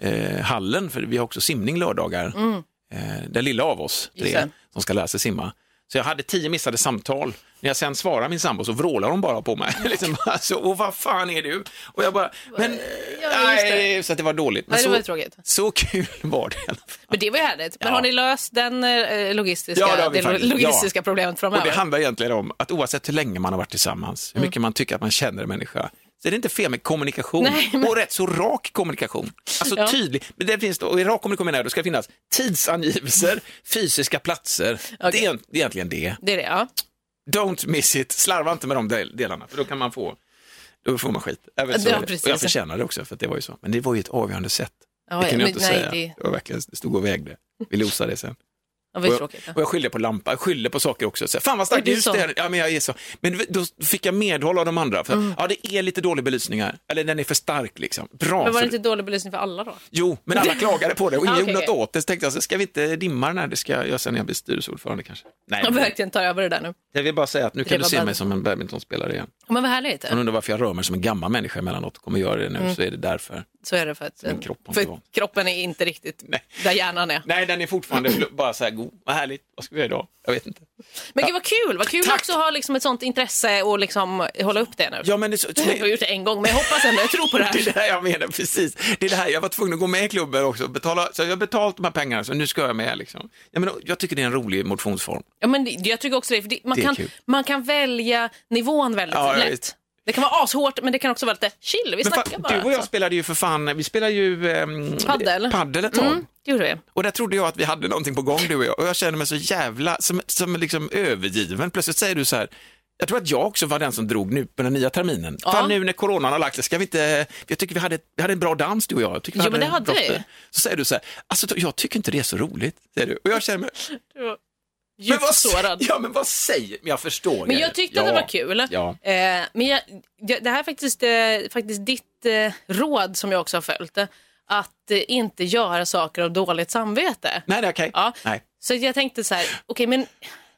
E: simhallen, för vi har också simning lördagar. Eh, Den lilla av oss
D: Mm. Just
E: tre
D: det.
E: som ska lära sig simma. Så jag hade tio missade samtal. När jag sen svarar min sambo så vrålar hon bara på mig. [LAUGHS] liksom, alltså, och vad fan är du? Och jag bara, men...
D: Ja, just det.
E: nej, så att det var dåligt. Men
D: Nej, det var ju
E: så,
D: tråkigt.
E: så kul var det i alla fall.
D: Men det var ju härligt. Men
E: Ja.
D: har ni löst den eh, logistiska,
E: Ja, det har vi
D: det
E: faktiskt.
D: logistiska
E: Ja.
D: problemet
E: Och
D: framöver?
E: det handlar egentligen om att oavsett hur länge man har varit tillsammans, hur
D: Mm.
E: mycket man tycker att man känner en människa, så är det inte fel med kommunikation.
D: Nej, men-
E: Och rätt så rak kommunikation. Alltså
D: Ja.
E: tydlig. Men det finns, och i rak kommunikation menar jag, då ska det finnas
D: [LAUGHS]
E: tidsangivelser, fysiska platser. Det är egentligen det.
D: Det är det, ja.
E: Don't miss it. Slarva inte med de del- delarna, för då kan man få då får man skit. Även så
D: Ja,
E: är det.
D: precis.
E: och jag förtjänar det också, för att det var ju så. Men det var ju ett avgörande sätt.
D: ja
E: det kan jag
D: men-
E: inte
D: nej,
E: säga.
D: Det,
E: Det var verkligen, det stod och vägde. Vi losade det sen.
D: ja, det var ju
E: Och
D: tråkigt.
E: jag,
D: Ja.
E: och jag skyllde på lampa, jag skyllde på saker också. Så, här, Fan vad starkt
D: Oj, du
E: ljus
D: sa-
E: det är. Ja, men jag är så. Men då fick jag medhåll av de andra. För,
D: Mm.
E: Ja, det är lite dålig belysning här. Eller den är för stark liksom. Bra.
D: Men var det
E: för...
D: inte dålig belysning för alla då?
E: Jo, men alla klagade på det
D: [LAUGHS]
E: och
D: Ah,
E: ingen
D: okej,
E: gjorde något
D: okej.
E: åt det. Så tänkte jag, så ska vi inte dimma den här? Det ska jag göra sen när jag blir styrelseordförande kanske. Nej,
D: Jag
E: men-
D: verkligen tar över det där nu.
E: jag vill bara säga att nu kan
D: Det
E: du
D: var
E: se
D: bara-
E: mig som en badmintonspelare igen.
D: Ja, Men vad härligt.
E: Man undrar varför jag rör mig som en gammal människa emellanåt. Kommer göra det nu
D: Mm.
E: så är det därför.
D: Så är det för att, eh,
E: Min kropp har inte
D: för
E: vant.
D: kroppen är inte riktigt
E: Nej.
D: där hjärnan är.
E: Nej, den är fortfarande
D: [CLEARS THROAT]
E: bara så här god. Vad härligt. Vad ska vi göra idag? Jag vet inte.
D: Men gud vad kul! Vad kul
E: Tack.
D: också att ha liksom ett sånt intresse och liksom hålla upp det nu.
E: Ja, men det, så,
D: Jag har gjort det en gång, men jag hoppas ändå, jag tror på det
E: Det är
D: här.
E: det här jag menar, precis. Det är det här, jag var tvungen att gå med i klubben också. Betala, så jag har betalt de här pengarna, så nu ska jag med. Liksom. Jag, menar, jag tycker det är en rolig motionsform.
D: Ja, men det- jag tycker också det, för det, man,
E: Det är
D: kan,
E: kul.
D: man kan välja nivån väldigt
E: Ja, jag
D: lätt.
E: vet.
D: Det kan vara ashårt, men det kan också vara lite chill, vi
E: Men
D: snackar
E: fan,
D: bara.
E: du och jag
D: så.
E: spelade ju för fan, vi spelade ju ehm,
D: Paddel.
E: paddel ett tag.
D: Mm, det gjorde vi.
E: Och där trodde jag att vi hade någonting på gång du och jag. Och jag känner mig så jävla, som, som liksom övergiven. Plötsligt säger du så här, jag tror att jag också var den som drog nu på den nya terminen.
D: Ja.
E: Fan nu när coronan har lagt sig, ska vi inte, jag tycker vi hade, vi hade en bra dans du och jag. jag tycker vi
D: Jo, men det
E: en
D: hade
E: bra
D: vi.
E: spel." Så säger du så här, alltså jag tycker inte det är så roligt. Säger du. Och jag känner mig, Men
D: Djupt
E: vad,
D: sårad.
E: Ja, men vad säger... Men jag förstår.
D: Men
E: er.
D: jag tyckte
E: ja.
D: att det var kul.
E: Ja.
D: Eh, men jag, jag, det här är faktiskt, eh, faktiskt ditt eh, råd som jag också har följt. Eh, att eh, inte göra saker av dåligt samvete.
E: Nej, det är okej.
D: Ja.
E: Nej.
D: Så jag tänkte så här, okej men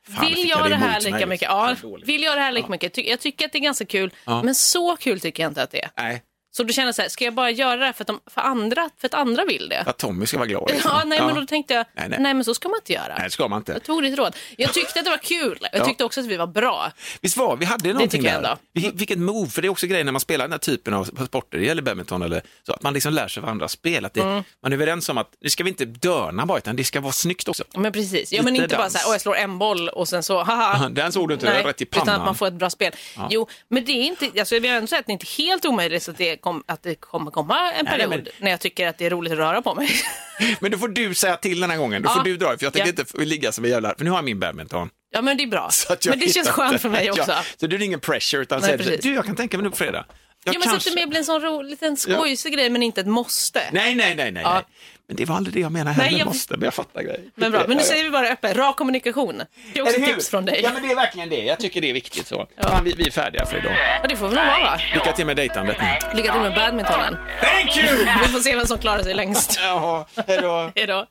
E: Fan, nu
D: vill
E: fick jag
D: jag det
E: det
D: här
E: emot
D: lika
E: mig.
D: mycket? Ja,
E: Fan, dåligt.
D: vill jag det här lika mycket? Ty- jag tycker att det är ganska kul,
E: Ja.
D: men så kul tycker jag inte att det är.
E: Nej,
D: Så du känner jag så här, ska jag bara göra det här för att, de, för andra, för att andra vill det?
E: att Tommy ska vara glad. liksom.
D: [LAUGHS] Ja, nej men då tänkte jag, nej,
E: Nej, nej.
D: men så ska man inte göra.
E: Nej, det ska man inte.
D: Jag tog ditt råd. Jag tyckte att det var kul. Jag
E: Ja.
D: tyckte också att vi var bra.
E: Visst var vi hade någonting
D: tycker jag
E: där.
D: ändå.
E: Vi, vilket move, för det är också grejen när man spelar den här typen av sporter, det gäller badminton eller så, att man liksom lär sig av andra spel. Att det,
D: Mm.
E: Man är överens om att nu ska vi inte dörna bara, utan det ska vara snyggt också.
D: Men precis. Ja, men
E: Lite
D: inte bara
E: dans.
D: så här, åh jag slår en boll och sen så, haha.
E: [LAUGHS] Den såg du inte, det var rätt i pannan.
D: utan att man får ett bra spel. Jo, men det är inte, alltså jag vill ändå säga att det är inte helt omöjligt att det, kom, att det kommer komma en
E: Nej,
D: period
E: men-
D: när jag tycker att det är roligt att röra på mig. [LAUGHS]
E: Men då får du säga till den här gången, då
D: Ja.
E: får du dra, för jag tänker
D: Ja.
E: inte f- ligga som en jävla... För nu har jag min badminton.
D: ja, men det är bra.
E: Så att jag
D: Men det känns
E: hittar
D: skönt
E: inte-
D: för mig också.
E: [LAUGHS] Ja, så det är ingen pressure, utan
D: Nej,
E: säger du,
D: precis.
E: du, jag kan tänka mig nu på fredag. Jag
D: Ja, men så
E: kanske-
D: att det mer blir en sån ro, liten
E: Ja.
D: skojsig grej, men inte ett måste.
E: Nej, nej, nej, nej.
D: Ja.
E: nej. Men det var aldrig det jag menade
D: Nej,
E: heller,
D: jag-
E: måste, men jag fattar grejen.
D: Men bra, men nu säger vi bara öppet, rak kommunikation. Det är också tips från dig.
E: Ja, men det är verkligen det. Jag tycker det är viktigt så. Fan, vi, vi är färdiga för idag.
D: Ja, det får vi nog vara. va?
E: Lycka till med dejtandet nu.
D: Lycka till med badmintonen.
E: Thank you!
D: Vi får se vem som klarar sig längst. [LAUGHS]
E: Jaha, hej då.
D: Hej då.